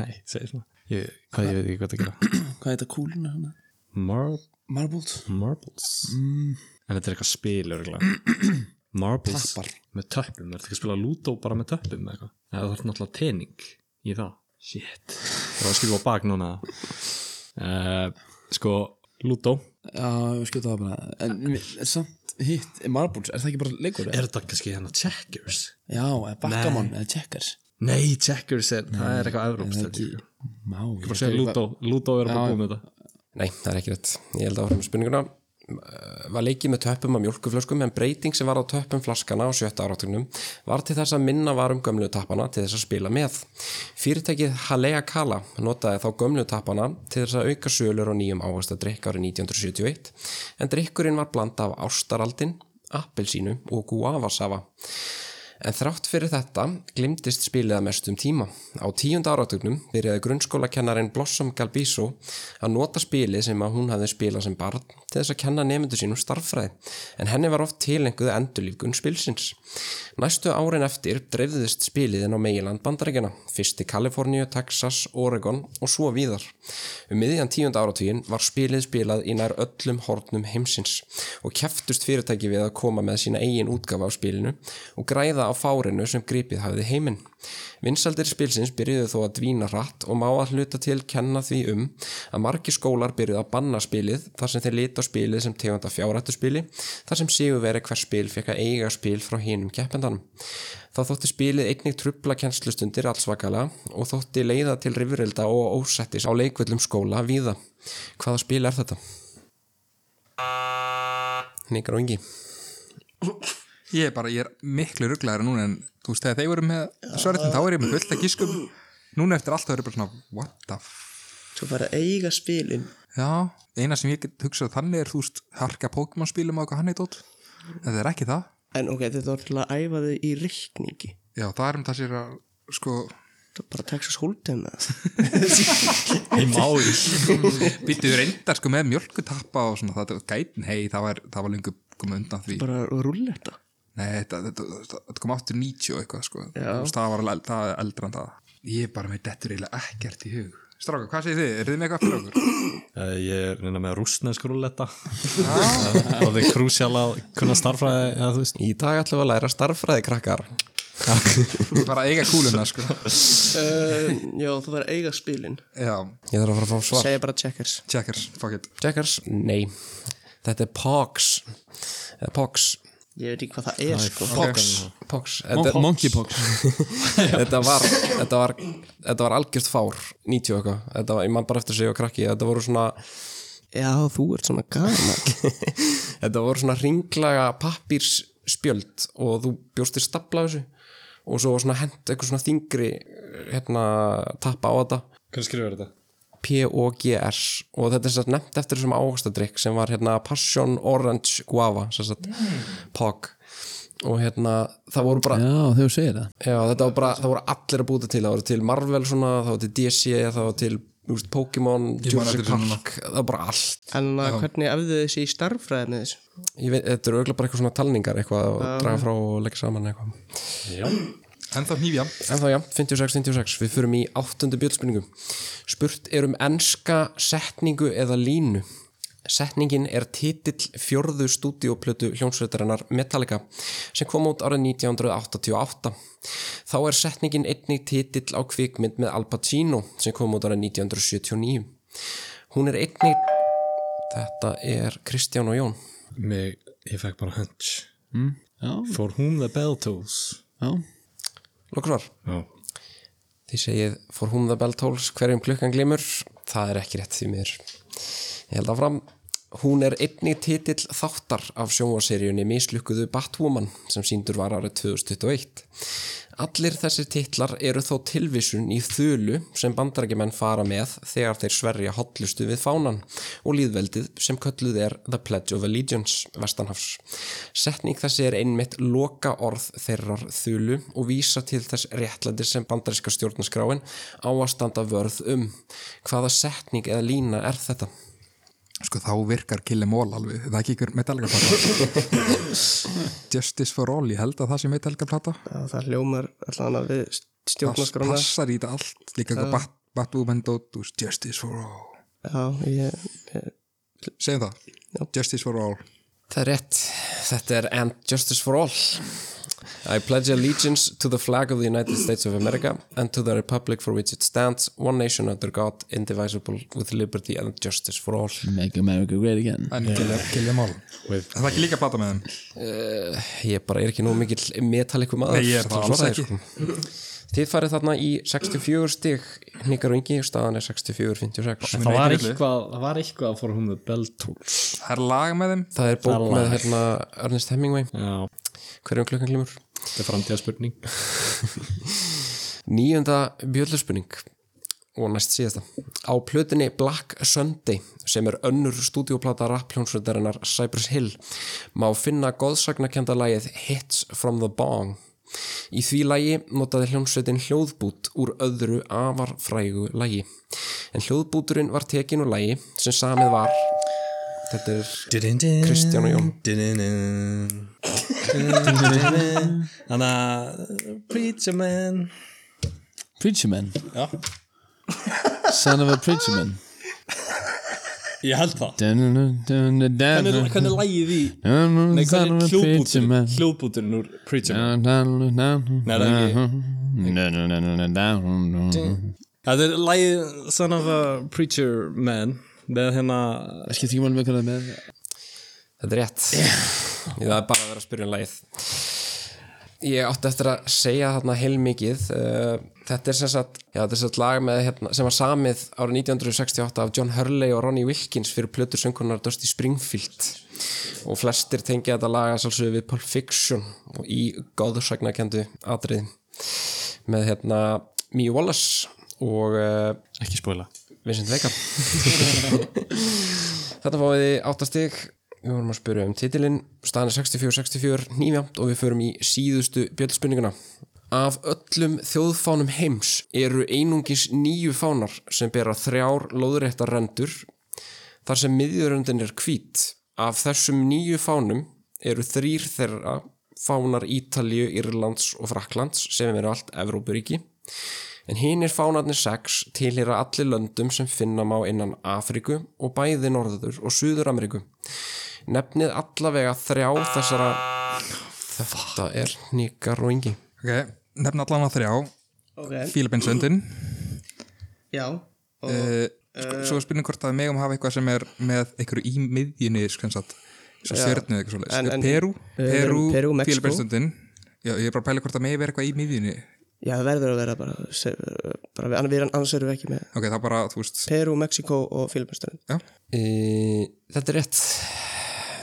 Nei, segir svona ég, Hvað ég veit ekki hvað það gera Hvað heita kúluna hana? Mar Marbled? Marbles En þetta er eitthvað spil, örgulega Marbles Tappar. Með töppum, er þetta ekki að spila Ludo bara með töppum eða eitthvað? Eða það er náttúrulega tening í það Shit Það var að skilja á bak núna uh, Sko, Ludo Já, ég skjóta það bara um En mi- samt hitt, marbled, er það ekki bara leikur? eða? Er þetta kannski hérna checkers? Já, eða bakkamon, eða checkers Nei, checkers er, það er eitthvað evrópstöld Ég Má, ég bara segja Ludo, Ludo er bara búið með þetta Nei, það er ekki rétt. Ég held áfram spurninguna. Eh, Var leikið með töppum af mjölkuflöskum en breyting sem var á töppum flaskana á sjötta áratunum var til þess að minna var um gömlu tappana til þess að spila með. Fyrirtækið Halea Kala notaði þá gömlu tappana til þess að auka sölur og nýjum ávast að drikka árið 1971 en drikkurinn var blanda af ástaraldin, appelsínu og guavasafa. En þrátt fyrir þetta glimtist spilið að mestum tíma. Á tíunda áratugnum byrjaði grunnskólakennarin Blossom Galbiso að nota spilið sem að hún hafði spilað sem barn til þess að kenna nefndu sínum starffræði, en henni var oft tilenguð endurlífgun spilsins. Næstu árin eftir dreifðist spilið inn á Meiland bandaríkjana, fyrst í Kaliforníu, Texas, Oregon og svo víðar. Um miðjan tíunda áratugin var spilið spilað í nær öllum hornum heimsins og keftust fyrirtæki við að koma með sína eigin útgafa á spilinu og græða á fárinu sem gripið hafði heiminn. Vinsaldir spilsins byrjuðu þó að dvína hratt og má að hluta til kenna því um að margi skólar byrjuðu að banna spilið þar sem þeir lita á spilið sem tegunda fjárrættuspili þar sem sigur veri hver spil fekk að eiga spil frá hinum keppendanum. Þá þótti spilið einnig trubla kennslustundir allsvakalega og þótti leiða til rifrilda og ósættis á leikvöllum skóla víða. Hvaða spil er þetta? Nikar og Ingi. Ég er bara, ég er miklu rugglæður núna en þú veist, þegar þeir voru með svörðin þá er ég með fullt að gískum Núna eftir allt það eru bara svona, what the f... svo bara eiga spilin Já, eina sem ég get hugsað þannig er, þú veist, harka Pokémon spilum á eitthvað hann eitt ótt En það er ekki það En ok, þetta var til að æfa þau í reikningi Já, það er um það sér að, sko, Það var bara Texas Hold'em eða? Í máli býttu reyndar sko með mjölkutappa og svona, það gætin, hei, það var, það var lengur komið undan því Bara rúlletta Nei, þetta, þetta, þetta, þetta kom aftur 90 og eitthvað sko. Þú veist, það var alveg- það er eldra en það Ég er bara með dettur eiginlega ekkert í hug Stráka, hvað segir þið? Er þið með eitthvað fyrir okkur? Eh, Ég er reyna með rúsnesk rúlletta Ah. Það er krúsjál að kunna starfræði eða þú veist Í dag ætlum við að læra starffræði krakkar. bara að eiga kúluna sko. uh, Já, það var eiga spilin Já, Ég þarf að fara að fá svar. Segja bara checkers checkers, fuck it Checkers? Nei. Þetta er Pogs. Eða Pogs. Ég veit ekki hvað það er sko Pogs. Pogs. Þetta, Monkeypox þetta var, þetta var, þetta var algjört fár, 90 og eitthvað. Þetta var, ég man bara eftir sig og krakki, þetta voru svona, Já, þú ert svona gaman þetta voru svona ringlaga pappírsspjöld og þú bjóstir stapla þessu og svo var svona hent eitthvað svona þingri hérna tappa á þetta Hvernig skrifur þetta? P-O-G-S og þetta er sérst nefnt eftir þessum áhugstadrykk sem var hérna Passion Orange Guava sérst mm. POG og hérna það voru bara Já, þegar þú segir það Já, þetta var bara, það voru allir að búta til, það voru til Marvel svona, það voru til DC, það voru til þú veist, Pokémon, Jurassic eftir þessu núna. Park, það var bara allt. En að hvernig efðu þau þessi í starffræðinu þessu? Ég veit, þetta eru auðvitað bara eitthvað svona talningar eitthvað og draga frá og leggja saman eitthvað. En þá hnífja En þá já, 56, 56, við förum í áttundu bjöldspurningu. Spurt er um enska setningu eða línu. Setningin er titill fjörðu stúdíoplötu hljónsveitarinnar Metallica sem kom út árið 1988. Þá er setningin einnig titill á kvikmynd með Al Pacino sem kom út árið 1979. Hún er einnig... Þetta er Kristján og Jón. Mig, ég fekk bara hunch mm, For whom the bell tolls Já, Lókvar, Já þið segið For whom the bell tolls, hverjum klukkan glimur það er ekki rétt því mér ég held áfram hún er einnig titill þáttar af sjónvaseríunni mislukkuðu Batwoman sem síndur var árið 2021 Allir þessir titlar eru þó tilvísun í þulu sem bandarækjumenn fara með þegar þeir sverja hotlustu við fánan og líðveldið sem kölluð er The Pledge of Allegiance vestanhafs. Setning þessi er einmitt loka orð þeirrar þulu og vísa til þess réttlæti sem bandaríska stjórnaskráin á að standa vörð um. Hvaða setning eða lína er þetta? Sko þá virkar Killi Mól alveg, það er ekki ykkur Metallica plata Justice for All, ég held að það sé Metallica plata Já, það hljómar allan að við Það stjórnarskrána passar í þetta allt, líka eitthvað bat, Batwoman Dótt úr Justice for All Já, ég, ég, Segjum það, Justice for All Það er rétt. Þetta er And Justice for All. I pledge allegiance to the flag of the United States of America and to the republic for which it stands, one nation under God, indivisible with liberty and justice for all. Make America Great Again En yeah. Killi Mól Er það ekki líka plata með þeim? Ég bara er ekki nóg mikill metaliku maður. Nei, ég er til að það alls svara þér, sko. Þið farið þarna í 64 stig, hnikar og yngi, staðan er 64-56. það var ekki öllu. eitthvað það var eitthvað að fóra hún með beltól Það er lag með þeim Það er bók Það með lag. hérna Ernest Hemingway, já, hverjum klukkan glimur? þetta er framtíðaspurning Níunda bjöllurspunning og næst síðasta. Á plötunni Black Sunday sem er önnur stúdíoplata rappljónsröndarinnar Cypress Hill má finna góðsagnakenda lagið Hits from the Bong. Í því lagi notaði hljómsveitin hljóðbút úr öðru afar frægu lagi. En hljóðbúturinn var tekin úr lagi sem samið var Þetta er Kristján og Jón. Þannig að Preacher man Preacher Man Já. Son of a Preacher Man Ég held það Hvernig, Hvernig hvernig lægið í Son Nei, hvernig of a um Preacher hljóðbúturinn Man Hljóðbúturinn úr Preacher man Nei, það er ekki. Það Þetta er lægið Son of a Preacher man Með hérna skipt ekki máli með hvernig með Þetta er rétt Ég það er bara að vera að spyrja um lagið Ég átti eftir að segja þarna heilmikið uh, Þetta er sem sagt, já, þetta er sem sagt lag með, hérna, sem var samið árið 1968 af John Hurley og Ronnie Wilkins fyrir plötur söngunar Dusty Springfield og flestir tengja þetta laga sálsögðu við Pulp Fiction og í góðsagnakendu atrið með hérna Mie Wallace og uh, Ekki spóla Vincent Vega Þetta fáið þið áttastig Við vorum að spyrja um titilinn Staðan er 64-64 nýjamt og við förum í síðustu bjöldspurninguna Af öllum þjóðfánum heims eru einungis nýju fánar sem bera þrjár lóðréttar rendur þar sem miðjuröndin er hvít Af þessum nýju fánum eru þrýr þeirra fánar Ítalíu, Írlands og Fraklands sem eru allt Evrópuríki En hinn er fánarnir sex tilhýra allir löndum sem finna má innan Afríku og bæði Norður og Suður Ameríku. Nefnið allavega þrjá þessara... Þetta er nýkar og yngi. Ok, nefna allan að þrjá ok, Fílipinsöndin já og, uh, Svo er spurning hvort að við megum hafa eitthvað sem er með einhverju í miðjunni sko, sem sagt, svo stjörnu eða eitthvað En- svoleiðis en- Peru, Við Peru, erum Perú, Mexíkó. Fílipinstundin Já, ég er bara að pæla hvort að megi vera eitthvað í miðjunni Já, það verður að vera bara, se- bara við, við annars erum við ekki með Ok, það er bara, þú veist Peru, Mexiko og Filipinsturinn Já, E, þetta er rétt.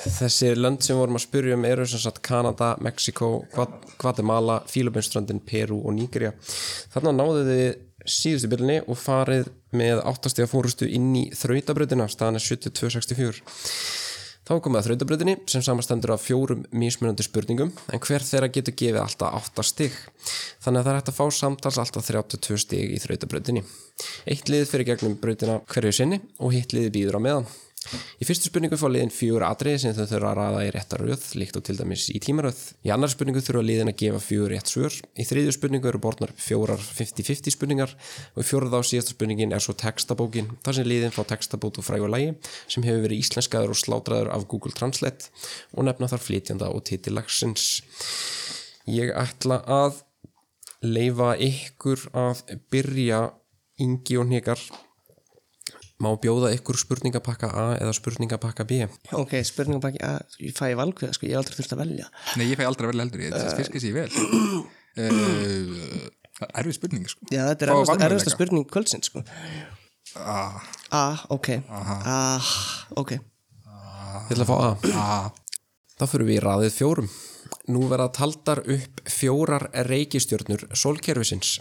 Þessi lönd sem vorum að spyrja um eru sem sagt Kanada, Mexiko, Guatemala, Fílubinströndin, Peru og Nígria. Þarna náðu þið síðustu byrjunni og farið með áttastega fórustu inn í þrautabröðina, staðan er 7264. Þá er komið að þrautabröðinni sem samastendur af fjórum mismunandi spurningum en hver þeirra getur gefið alltaf 8 stig. Þannig að það er hægt að fá samtals alltaf 32 stig í þrautabröðinni. Eitt liðið fyrir gegnum bröðina hverju sinni og hitt liðið býður á meðan. Í fyrstu spurningu fá liðin fjögur atriði sem þau þurfa að raða í réttar röð, líkt og til dæmis í tímaröð. Í annar spurningu þurfa liðin að gefa fjögur rétt svör. Í þriðju spurningu eru borðnar upp fjórar 50-50 spurningar og í fjórða og síðasta spurningin er svo textabókin, þar sem liðin fá textabót og frægur lægi sem hefur verið íslenskaður og slátraður af Google Translate og nefna þar flytjanda og titillagsins. Ég ætla að leifa ykkur að byrja yngi og hnikar Má bjóða ykkur spurningapakka A eða spurningapakka B? Ok, spurningum baki að ég fæ valkveða sko, ég hef aldrei þurft að velja nei, ég fæ aldrei að velja heldur, ég fiskis ég vel uh, Það er erfið spurning, sko Já, þetta er Fá erfasta, valmöguleika. erfasta spurning kvöldsinn sko ah, Ah, ok Ah, ok Eh, Ég ætla að fá A. ah, Þá fyrir við í raðið fjórum. Nú verða taldar upp fjórar reikistjörnur sólkerfisins.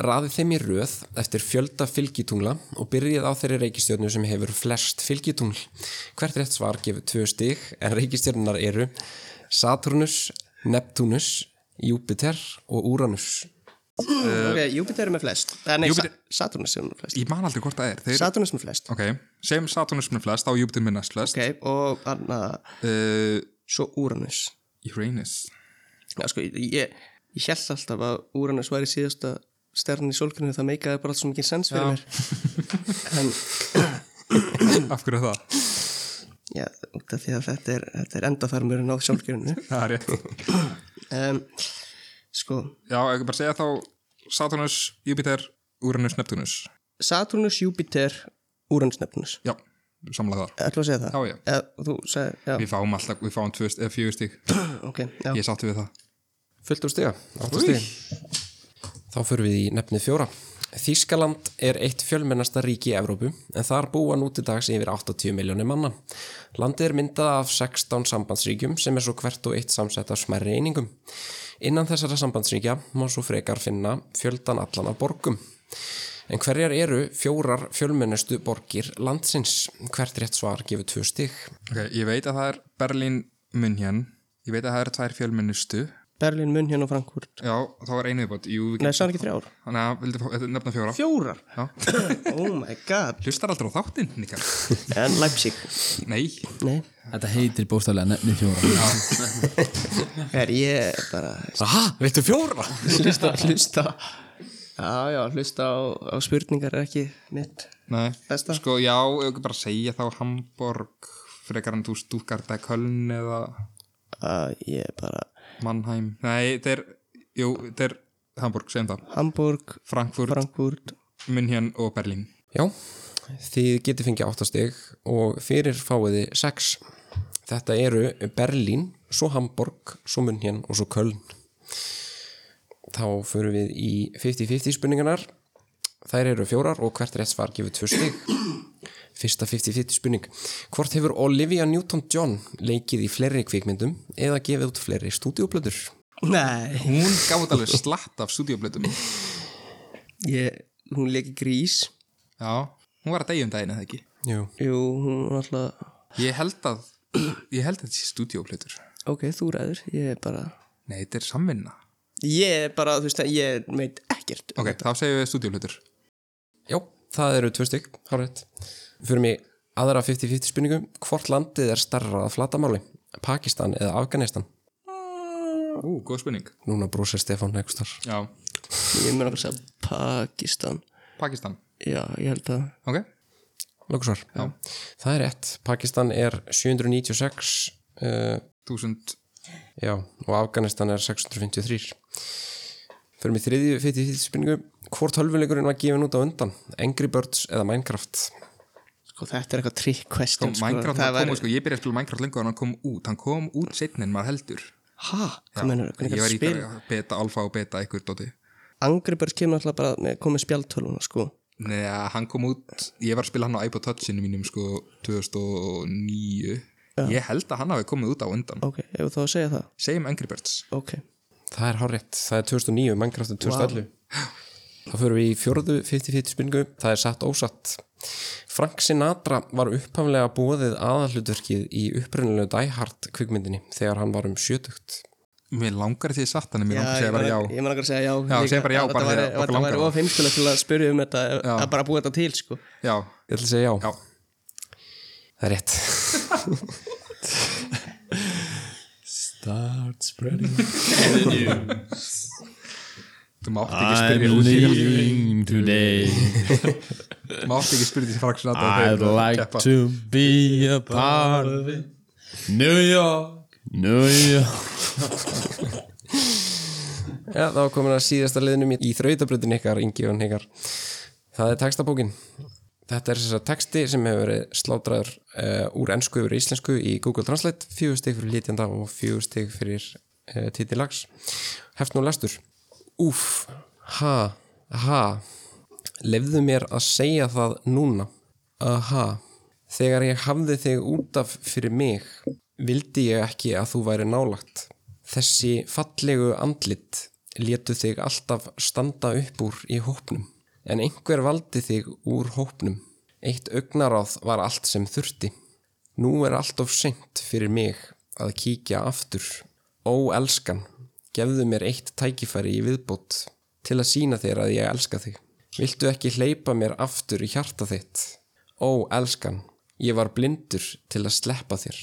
Raðið þeim í röð eftir fjölda fylgitungla og byrjið á þeirri reikistjörnu sem hefur flest fylgitungl. Hvert rétt svar gefur tvö stig en reikistjörnunar eru Saturnus, Neptunus, Júpiter og Uranus. Ok, Júpiter er með flest Eh, Nei, Júpíter- Sa- Saturnus er með flest Ég man aldrei hvort það er Þeir, Saturnus er með flest Ok, sem Saturnus með flest á Júpiter með næst flest Ok, og anna, uh, svo Uranus Uranus Já, sko, ég, ég held alltaf að Uranus væri síðasta stjarn í sólgrinu það meikaði bara allt svo mikið sens fyrir mér en Af hverju er það? já, út af því að þetta er, þetta er endaþarmurinn á sólgrinu Það er rétt um, sko, Já, ég bara segja þá Saturnus, Júpiter, Uranus, Neptunus Saturnus, Júpiter Uranus nefnus Já, samlega það ætlum að segja það? Já, já. Eða, þú segir, Við fáum alltaf, við fáum tvö, st- eh, fjögur stík já, ok já. Ég sátti við það Fullt úr stiga, 8 stiga. Þá fyrir við í nefnið fjóra. Þískaland er eitt fjölmennasta ríki í Evrópu en þar búa nú til dags yfir 80 miljónir manna. Landið er myndað af 16 sambandsríkjum sem er svo hvert og eitt samsett af smerri einingum. Innan þessara sambandsríkja má svo frekar finna fjöldan allan af borgum. En hverjar eru fjórar fjölmennustu borgir landsins? Hvert rétt svar gefur tvö stig. Ok, ég veit að það er Berlín München Ég veit að það eru tvær fjölmennustu Berlín, München og Frankfurt Já, þá er einu viðbót Jú, við Nei, sann ekki þrjár Þannig að vildi fá- þetta er nefna fjóra Fjórar? Já. oh my god Hlustar aldrei á þáttinn, Nikar En Leipzig Nei, Nei Þetta heitir bóstalega nefni fjóra Er ég bara Aha, veitu fjóra? hlusta, hlusta Já, já, hlusta á, á spurningar er ekki mitt nei Besta. Sko, já, ef ekki bara segja þá Hamburg Frekar en þú stúkart að Köln eða uh, Ég er bara Mannheim Nei, þetta er, jú, þetta er Hamburg, segjum það Hamburg, Frankfurt, Frankfurt München og Berlín Já, þið getið fengið áttastig og fyrir fáiði 6. Þetta eru Berlín, svo Hamburg, svo München og svo Köln. Þá förum við í 50-50 spurningarnar. Þær eru fjórar og hvert rétt svar gefur tvö stig. Fyrsta 50-50 spurning. Hvort hefur Olivia Newton-John leikið í fleiri kvikmyndum eða gefið út fleiri stúdíoplöður? Nei Hún gaf út alveg slatt af stúdíoblötum ég, Hún leiki grís Já, hún var að deyja um daginn eða ekki Jú. Jú, hún er alltaf Ég held að, ég held að þetta sé stúdíoblötur Ok, þú ræður, ég er bara Nei, þetta er samvinna Ég er bara, þú veist að ég veit ekkert Ok, þá segjum við stúdíoblötur Já, það eru tvö stygg, hárétt. Fyrir mig aðra 50-50 spurningu, hvort landið er starra að flatamáli? Pakistan eða Afganistan? Ú, góð spurning Núna brúsir Stefán Nekustar. Já, Ég mun að segja Pakistan Pakistan Já, ég held að Ok, Lókusvar. Já. Það er rétt. Pakistan er 796, uh, 1000 já, og Afganistan er 653. Fyrir mig þriðju 50-50 spurningu, hvort hölfuleikurinn var gefin út á undan? Angry Birds eða Minecraft? Sko, þetta er eitthvað trick question sko, Minecraft það var komið, sko, ég byrjaði að spila Minecraft lengur en hann kom út, hann kom út setn en maður heldur Hæ, hvað mennur, ég hvernig var að í spila dag beta, alfa og beta ykkur dóti Angry Birds kemur alltaf bara með, komið spjaltöluna sko Nei, hann kom út, ég var að spila hann á iPod Touchinu mínum sko 2009 ég held að hann hafi komið út á undan Ok, ef þú þá að segja það segjum Angry Birds Ok, Það er hárétt, það er 2009, Minecraft er 2011 Þá förum við í fjórðu 50-50 spurningu, það er satt ósatt Frank Sinatra var upphaflega bóðið aðalhlutverkið í upprunalegu Die Hard kvikmyndinni þegar hann var um sjötugt Mér langar því satt hann, mér já, langar að ég segja bara já var ég man að segja já Já, líka. segja bara já, Þetta bara væri- þegar okkur Þetta langar væri það. ofinnskulega til að spyrja um þetta að bara búa þetta til sko Já, Ég ætla að segja já, já, það er rétt Start spreading þú mátt ekki spyrja út í today Þú mátt ekki spyrja því Frank Sinatra þegar þú keppa. to be a part of it New York New York Já, þá er komin að síðasta liðnum í þrautabröðin ykkar, Ingiðan ykkar Það er textabókin Þetta er þess að texti sem hefur verið slátraður uh, úr ennsku yfir í íslensku í Google Translate, fjögur stig fyrir lítjanda og fjögur stig fyrir uh, titilags Heft nú lestur Úf, ha, ha Lefðu mér að segja það núna Aha Þegar ég hafði þig út af fyrir mig vildi ég ekki að þú væri nálagt Þessi fallegu andlit létu þig alltaf standa upp úr í hópnum, en einhver valdi þig úr hópnum. Eitt augnaráð var allt sem þurfti. Nú er allt of seint fyrir mig að kíkja aftur. Ó, elskan, gefðu mér eitt tækifæri í viðbót til að sína þér að ég elska þig. Viltu ekki hleypa mér aftur í hjarta þitt? Ó, elskan, ég var blindur til að sleppa þér.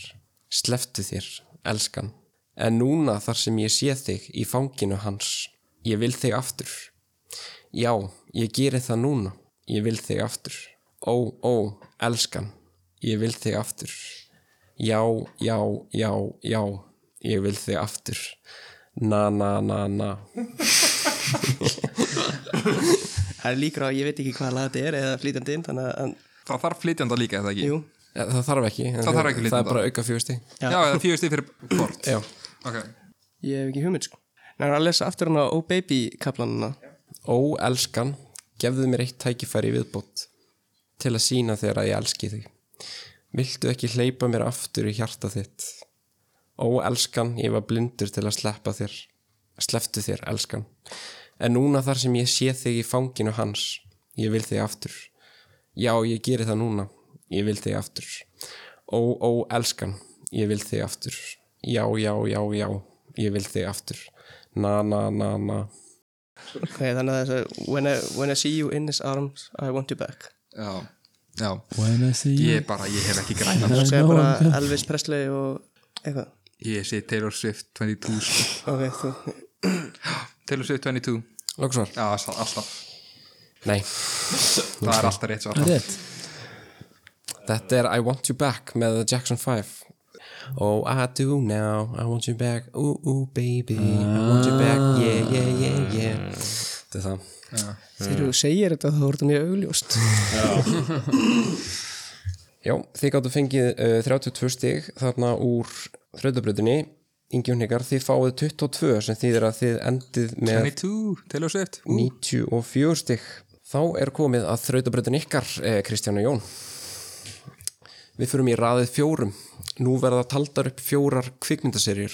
Sleftu þér, elskan. En núna þar sem ég sé þig í fanginu hans, ég vil þig aftur. Já, ég geri það núna. Ég vil þig aftur. Ó, ó, elskan, ég vil þig aftur. Já, já, já, já, ég vil þig aftur. Na, na, na, na. Það er líkur á, ég veit ekki hvað lag þetta er eða flýtandi inn, þannig að, Það þarf flytjanda líka, eða ekki? jú, Eh, Það þarf ekki. en Það þarf ekki Það lítið er bara auka fjósti. Já, það er fjögur stíð fyrir hvort. Já. Ok. ég hef ekki hugmynd, sko. Nei, að lesa aftur hana Oh Baby kaplanuna. Ó, elskan, gefðu mér eitt tækifæri í viðbót til að sína þér að ég elski þig. Viltu ekki hleypa mér aftur í hjarta þitt? Ó, elskan, ég var blindur til að sleppa þér. Sleftu þér, elskan. En núna þar sem ég sé þig í fanginu hans, ég vil þig aftur. Já, ég geri það núna. Ég vil þig aftur. Ó, ó, elskan, ég vil þig aftur. Já, já, já, já, ég vil þig aftur. Na, na, na, na. Ok, þannig að þess að when I, when I see you in his arms, I want you back. Já. Já. When I see you Ég bara, ég hef ekki græna. Það segja bara Elvis Presley og eitthvað. Ég sé Taylor Swift 22. sko. Ok, þú, Taylor Swift 22. Lóksvar. Já, það- alltaf. Nei, Það er alltaf rétt svo alltaf. þetta er I Want You Back með The Jackson 5 Oh, I do now, I want you back Ooh, ooh, baby, I want you back Yeah, yeah, yeah, yeah Þetta er það þegar þú segir þetta þá er þetta mjög augljóst. Já, þið gáttu fengið uh, 32 stig þarna úr þrautabröðinni Ingjón Hikar, þið fáið 22 sem þýðir að þið endið með 22, Taylor Swift. Ú, 94 stig Þá er komið að þrautabröðin ykkar, eh, Kristján og Jón Við fyrum í raðið fjórum. Nú verða taldar upp fjórar kvikmyndaserjur.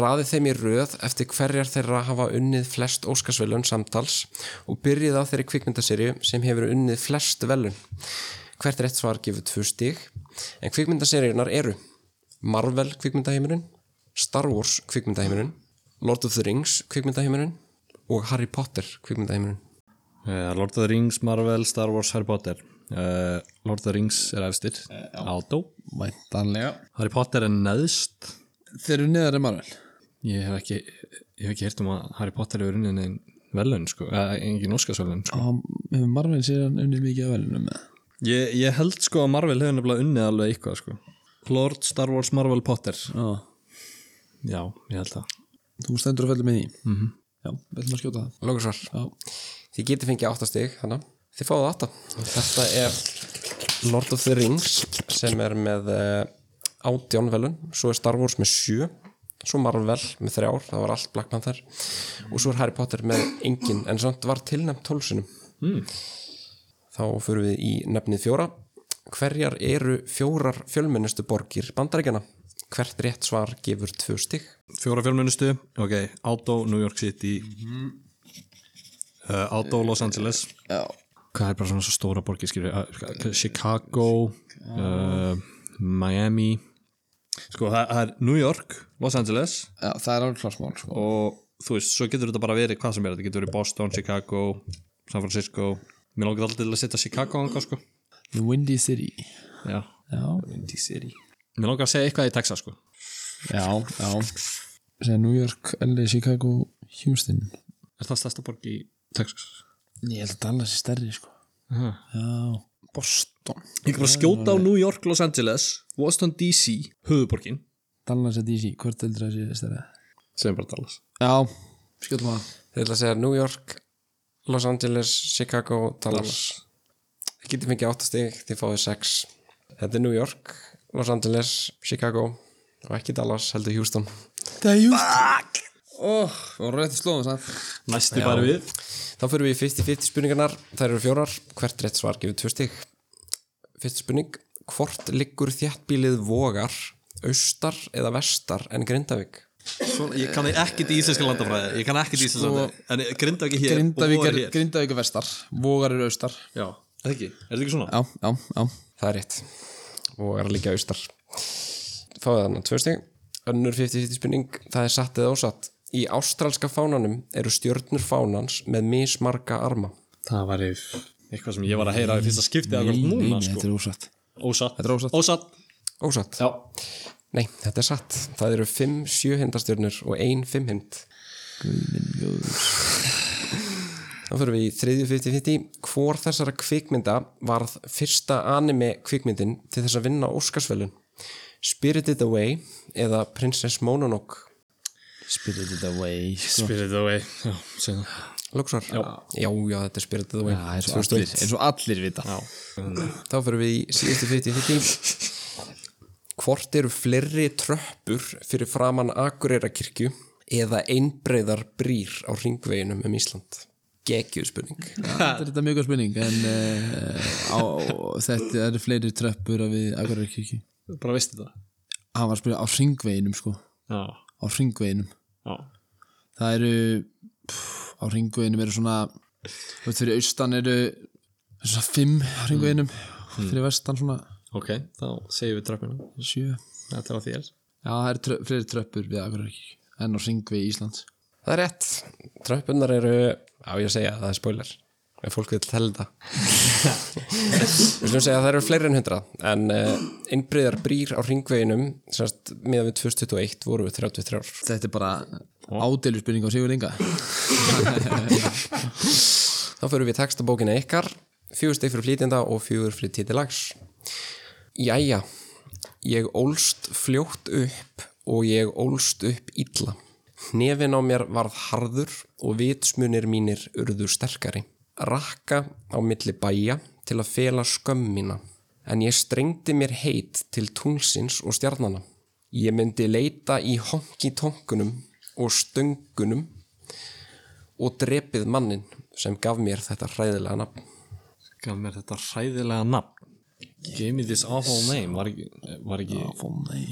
Raðið þeim í röð eftir hverjar þeirra hafa unnið flest Óskarsvelun samtals og byrjið á þeirri kvikmyndaserju sem hefur unnið flest velun. Hvert rétt svar gefur tvö stig, en kvikmyndaserjunar eru Marvel kvikmyndaheimurinn, Star Wars kvikmyndaheimurinn, Lord of the Rings kvikmyndaheimurinn og Harry Potter kvikmyndaheimurinn. Eh, Lord of the Rings, Marvel, Star Wars, Harry Potter uh, Lord of the Rings er efstir Eh, Átó Væntanlega Harry Potter er neðst Þeir eru neðar en Marvel Ég hef ekki, ég hef ekki hirt um að Harry Potter hefur unnið neinn velun sko, eða engin óskarsvelun sko. Og hefur Marvel síðan unnið mikið að velunum með ég, ég held sko að Marvel hefur nefnilega unnið alveg eitthvað sko. Lord, Star Wars, Marvel, Potter Já, Já, ég held það þú stendur að fellur með því mm -hmm. Já, velum að skjóta það Lókusvar. Já, Þið getið fengið 8 stig hana. Þið fáið 8 Þetta er Lord of the Rings sem er með eh, 18 velun, svo er Star Wars með 7 svo Marvel með 3 ár það var allt Black Panther og svo er Harry Potter með engin, en samt var tilnæmt 12 sinum Þá fyrir við í nefnið fjóra Hverjar eru fjórar fjölmennustu borgir bandaríkjana? Hvert rétt svar gefur 2 stig? Fjóra fjölmennustu, ok, Átó, New York City uh, Átó, Los Angeles já. Hvað er bara svona svo stóra borgir skilur við? Chicago uh, Miami Sko, það, það er New York, Los Angeles já það er alveg klarsmál sko. og þú veist, svo getur þetta bara verið hvað sem er, þetta getur verið Boston, Chicago San Francisco, mér langar alltaf til að setja Chicago ánga, sko The Windy City Já. Já, Windy City Mér langar að segja eitthvað í Texas, sko já, já Segja New York, LA, Chicago, Houston Er það stærsta borg í Texas? Ég held að Dallas er stærri sko Já, Boston Ég kan bara skjóta á New York, Los Angeles Washington DC, höfuborgin Dallas er DC, hvort heldur það sé stærri sem er bara Dallas Já, skjótum að Þið ætla að segja New York, Los Angeles, Chicago, Dallas. Þið getið fengið 8 stig, þið fáið 6. Þetta er New York, Los Angeles, Chicago og ekki Dallas, heldur Houston. Það er just Óh, og rétti slóðum sann Næsti bara við Þá fyrir við í 50-50 spurningarnar, þær eru fjórar, hvert rétt svar gefur 2 stig. Fyrst spurning, hvort liggur þjættbílið vogar, austar eða vestar en Grindavík? Svona, ég kann ekkert í íslenska landafræði Ég kann ekkert í íslenska Sko- landafræði En Grindavík er hér og Grindavíkar, Vogar er hér Grindavíkar vestar Vogar eru austar Já, er það ekki? Er það ekki svona? Já, já, já Það er rétt og er líka austar Fáðu þannig tvö stig Önnur 50-50 spurning, það er satt eða ósatt Í ástralska fánanum eru stjörnur fánans með mismarga arma Það var eitthvað sem ég var að heyra í fyrsta skipti akkur núna sko. er ósatt Ósatt Þetta er ósatt. Ósatt Ósatt? Já Nei, þetta er satt Það eru fimm sjöhindastjörnur og ein fimmhind Þá fyrir við í þriðju 50-50 Hvor þessara kvikmynda varð fyrsta anime kvikmyndin til þess að vinna Óskarsvelun? Spirited Away eða Princess Mononoke? Spirited Away Spirit away sko. Já, segðu það Lóksvar? Já. já, þetta er Spirited Away eins og 2001. allir, eins og allir vita já. Þá fyrir við í síðustu 50-50 Hvort eru fleiri tröppur fyrir framann Akureyrarkirkju eða einbreyðar brýr á ringveginum um Ísland? Gekkjuð spurning Þetta er þetta mjög góð spurning en uh, á, þetta eru fleiri tröppur að við akkur er ekki ekki Bara veistu það Hann var að spyrja á ringveginum sko á Já, ringveginum já það eru pff, á ringveginum eru svona þú veist fyrir austan eru svona fimm á ringveginum fyrir vestan svona Ok, þá segjum við tröppina sjö Þetta var þér Já, það eru trö, fleiri tröppur við akkur er ekki en á ringvegi Íslands Það er rétt, tröppunar eru á ég að segja, það er spoiler ef fólk vil telda Við slum segja að það eru fleiri en 100 en uh, einbreyðar brýr á ringveginum semst miðað við 2021 voru við 33 ár Þetta er bara ádeilu spurning á Sigur Inga Þá fyrir við í textabókina ykkar fjögur steg fyrir flýtinda og fjögur fyrir titilags Jæja Ég ólst fljótt upp og ég ólst upp illa Hnefin á mér varð harður og vitsmunir mínir urðu sterkari Rakka á milli bæja til að fela skömm mína En ég strengdi mér heit til tunglsins og stjarnana Ég myndi leita í honki-tonkunum og stöngunum og drepið mannin sem gaf mér þetta hræðilega nafn. Gaf mér þetta hræðilega nafn Gave me this awful name Var ekki, var ekki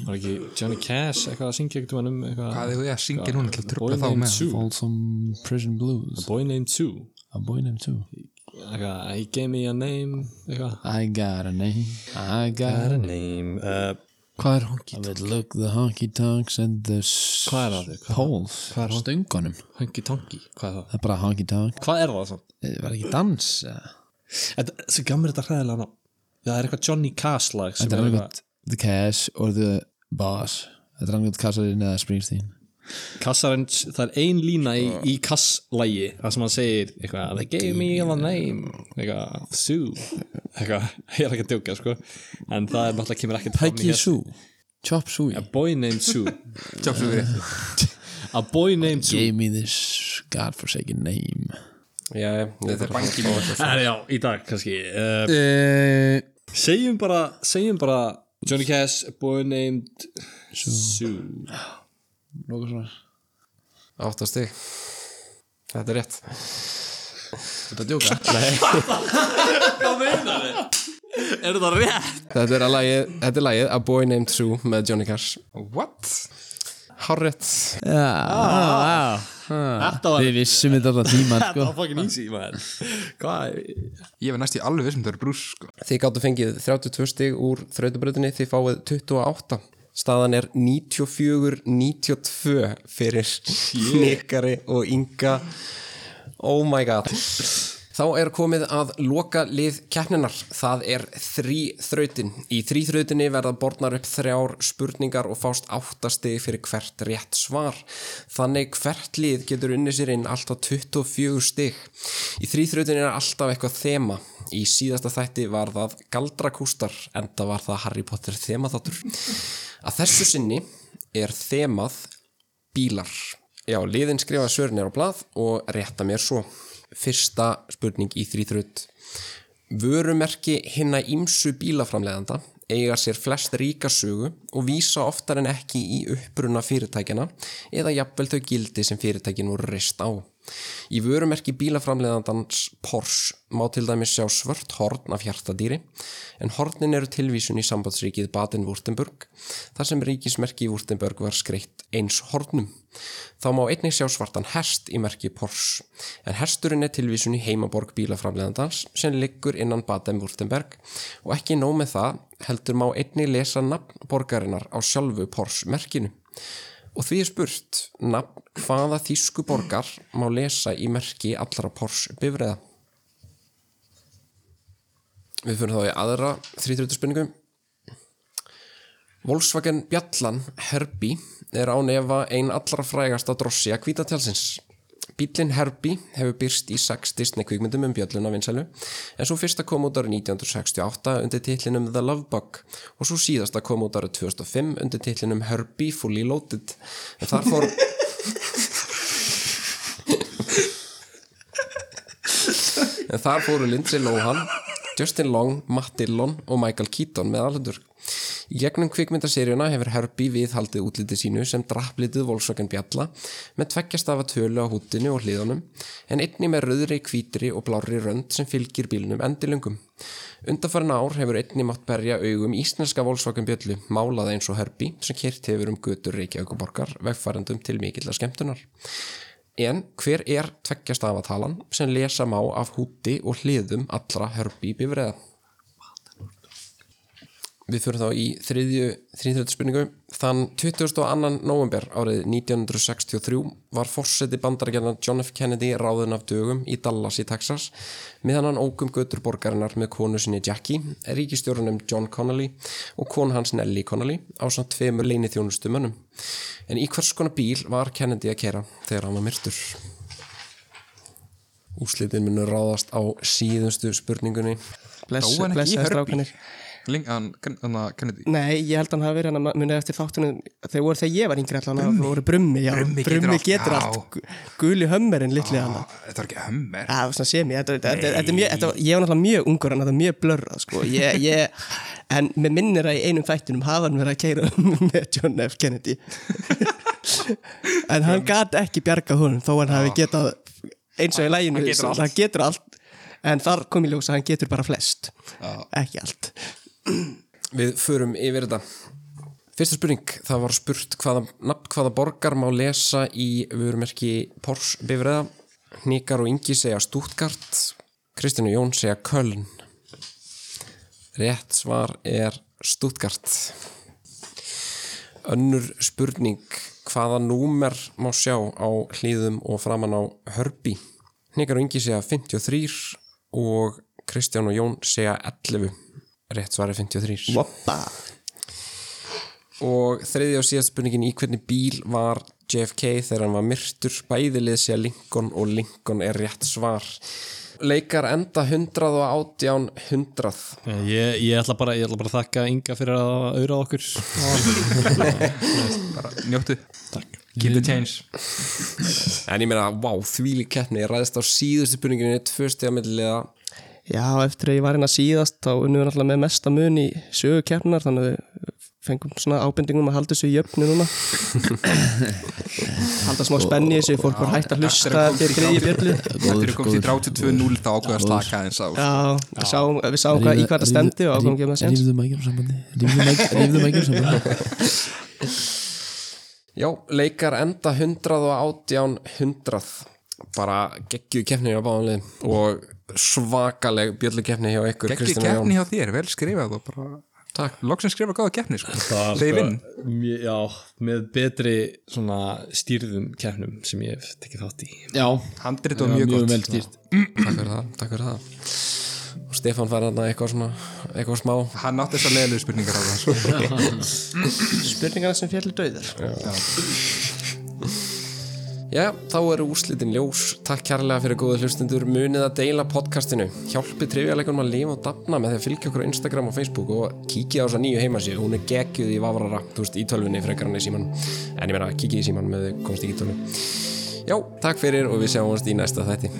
Var ekki Johnny Cash eitthvað að syngja eitthvað um eitthvað Hvað er ég að syngja núna til að trubla þá með? Folsom Prison Blues Boy named Sue A boy named too eitthvað, He gave me a name eitthvað I got a name I got a name name uh, Hvað er honky tonk? I would look the honky tonks and the s- Hvað er það þig? Hvað- Poles hvað er honky- Stöngunum Hunky Tonky, hvað er það? Það er bara honky tonk Hvað er það samt? Eh, Var ekki dans? eða? Þetta, þessi gamur þetta hræðilega nafn Já, það er eitthvað Johnny Cash lag sem Þetta er er annað The Cash or the Boss Þetta er annað Kassarinn eða Springsteen Kassarinn, það er ein lína í, í kasslægi það sem hann segir eitthvað They gave me a name eitthvað, Sue eitthvað, ég er ekki að djóka sko en það er náttúrulega kemur ekkert fram í Peggy hér. Sue Chop Suey A boy named Sue Tjópsu við rétt. A boy named Sue Gave me this godforsaken name Já, þetta er banki mjög. Það er já, í dag kannski uh, Eh, Segjum bara, segjum bara Johnny Cash, a boy named Sue Nóka svona Áttastig. Þetta er rétt. Þetta er djóka Er það rétt? Þetta er, að lagið, þetta er lagið A Boy Named Sue með Johnny Cash. What? Hárrétt. Ah, Ah. Þetta var Við vissum þetta alltaf tíma sko. Þetta var fucking easy, man Hvað? Ég var næst í alveg vissum það eru brús, sko. Þið gáttu fengið 32 stig úr þrautabröðinni, þið fáið 28. Staðan er 94-92 fyrir Nikari og Inga. Oh my god. Þá er komið að loka lið keppninar. Það er þrý þrautin. Í þrý þrautinni verða borðnar upp þrjár spurningar og fást áttasti fyrir hvert rétt svar. Þannig hvert lið getur unni sér inn allt á 24 stig. Í þrý þrautinni er alltaf eitthvað þema. Í síðasta þætti var það galdrakústar, enda var það Harry Potter þemaþáttur. Að þessu sinni er þemað bílar. Já, liðin skrifa svörinir á blað og rétta mér svo. Fyrsta spurning í þrýþrut. Vörumerki hinna ímsu bílaframleðanda eiga sér flest ríka sögu og vísa oftar en ekki í uppruna fyrirtækjana eða jafnvel þau gildi sem fyrirtækin voru reist á. Í vörumerki bílaframleðandans Porsche má til dæmis sjá svört horn af hjartadýri en hornin eru tilvísun í sambandsríkið Baden-Württemberg þar sem ríkismerki í Württemberg var skreitt eins hornum. Þá má einnig sjá svartan hest í merki Porsche en hesturinn er tilvísun í heimaborg bílaframleðandans sem liggur innan Baden-Württemberg og ekki nóg með það heldur má einnig lesa nafn borgarinnar á sjálfu Porsche merkinu. Og því er spurt, nafn hvaða þýsku borgar má lesa í merki allra Porsche bifræða? Við fyrir þá í aðra 30. spurningu. Volkswagen Bjallan Herbie er án efa ein allra frægasta drossi að kvítatjálsins. Bílinn Herbie hefur byrst í sex Disney kvikmyndum um bjöllun af vinsælu en svo fyrsta kom út árið 1968 undir titlinum The Love Bug og svo síðasta kom út árið 2005 undir titlinum Herbie Fully Loaded en þar fór en þar fóru Lindsay Lohan, Justin Long, Matt Dillon og Michael Keaton með alhendur. Í gegnum kvikmyndaseríuna hefur Herbie viðhaldið útlitið sínu sem drapplitið Volkswagen Bjalla með tveggjastafa tölu á húttinu og hliðunum en einni með rauðri, hvítri og blárri rönd sem fylgir bílnum endilöngum. Undarfærin ár hefur einni mátt berja augum íslenska Volkswagen Bjöllu málað eins og Herbie sem kyrt hefur um götur Reykjavíkuborgar vegfærendum til mikilla skemmtunar. En hver er tveggjastafatalan sem lesa má af húti og hliðum allra Herbie bifræða? Við fyrir þá í þriðju 33 spurningu. Þann 22. november árið 1963 var forseti bandarækjarnar John F. Kennedy ráðun af dögum í Dallas í Texas meðan hann ókum götur borgarinnar með konu sinni Jackie, ríkistjórunum John Connolly og kon hans Nellie Connolly á samt tveimur leini þjónustumönnum. En í hvers konar bíl var Kennedy að kera þegar hann var myrtur? Úslitin munu ráðast á síðustu spurningunni. Dó Bless, hann ekki í blessaði Herbie? strákanir Ling, hann, hann, Kennedy Nei, ég held að hann hafi verið hann að muni eftir þáttunum þegar voru þegar ég var yngri allan brummi. voru brummi, já, Brummi getur brummi, allt, getur já. Ah. allt, allt. guli hömmerinn litli hann Á, Þetta var ekki hömmer Það var svona semi, þetta, þetta, þetta, þetta, er mjög- þetta, var- ég var náttúrulega mjög ungur en þetta var mjög blörrað sko. ég, ég, en mér minnir að í einum þættinum hafa hann verið að keira með John F. Kennedy en hann gat ekki bjargað honum þó hann hafi getað eins og í læginu, Ah. getur allt. hann getur allt en þar kom í ljós að hann getur bara flest Ah. ekki allt Við förum yfir þetta. Fyrsta spurning, það var spurt hvaða, nafn hvaða borgar má lesa í vörumerki Porsche bifræða. Hnikar og Ingi segja Stuttgart, Kristján og Jón segja Köln. Rétt svar er Stuttgart. Önnur spurning, hvaða númer má sjá á hlýðum og framan á hörbi? Hnikar og Ingi segja 53 og Kristján og Jón segja 11. Rétt svar er 53. Woppa. Og þriðja og síðast spurningin í hvernig bíl var JFK þegar hann var myrtur bæðilið sé að Lincoln og Lincoln er rétt svar. Leikar enda 100 og átján 100. Eh, Ég, ég, ætla bara, ég ætla bara að þakka Inga fyrir að auðra okkur Bara njóttu Keep the change En ég meina, vá, þvíli keppni, ég ræðist á síðustu spurninginni, tvö stiga millilega. Já, eftir að ég var hérna síðast þá unnum við náttúrulega með mesta mun í sögu keppnar þannig að við fengum svona ábendingum að halda þessu í jöfnu núna halda smá spenni í þessu fólk var hægt að hlusta eftir þriði bjöllu Þetta eru komst í 32-0 þá ákveða slaka eins á Já, við sáum, við sáum hvað, í hvað það stemdi og ákvæmum ekki með sér Rífðum ekki um sambandi Rífðum ekki- Rífðum ekki um sambandi Já, leikar enda 100 og átján 100. Bara geggju keppni á báðanlið og svakaleg bjöllu keppni hjá ykkur, Gekki Kristján og Jón. keppni hjá þér, vel skrifað og bara Takk, loksins skrifa góða keppni sko. Þeir vinn mjö, Já, með betri svona stýrðum keppnum sem ég hef tekið þátt í Já, Handrit það var og mjög mjög gott vel stýrt Takk fyrir það, takk fyrir það. Og Stefán fær þarna eitthvað svona, eitthvað smá. Hann átti þessar leðilegu spurningar á það Spurningarna sem fjallir döður Já, þá eru úrslitin ljós. Takk kærlega fyrir góðu hlustendur. Munið að deila podcastinu. Hjálpi trivjalegunum að lifa og dafna með því að fylgja okkur á Instagram og Facebook og kíkja á þessa nýju heimasíðu. Hún er geggjuð í vafrara, þú veist, í tölvunni frekar hann í síman. En ég meina, kíkja í síman með þau komst ekki í tölvu. Já, takk fyrir og við sjáumst í næsta þætti.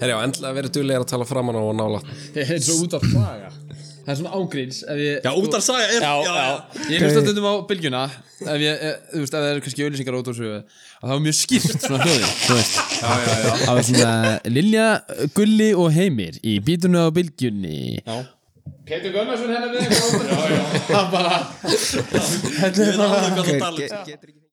Herjá, endla verið duðlegir að tala framan á og nála Ég er svo út af saga Það er svona ágríns ef ég, Já, út af saga er- Já, já, já, Ég hlusta stundum á bylgjuna Ef ég, eh, þú veist, ef það eru kannski auðlýsingar út úr svo að það var mjög skýrt svona hljóðið Þú veist Já, já, já Það var svona Lilja, Gulli og Heimir í bítunni á bylgjunni Já Petur Gunnarsson hennar við Já, já Það bara Þetta er bara Hver- ge- getur ekki-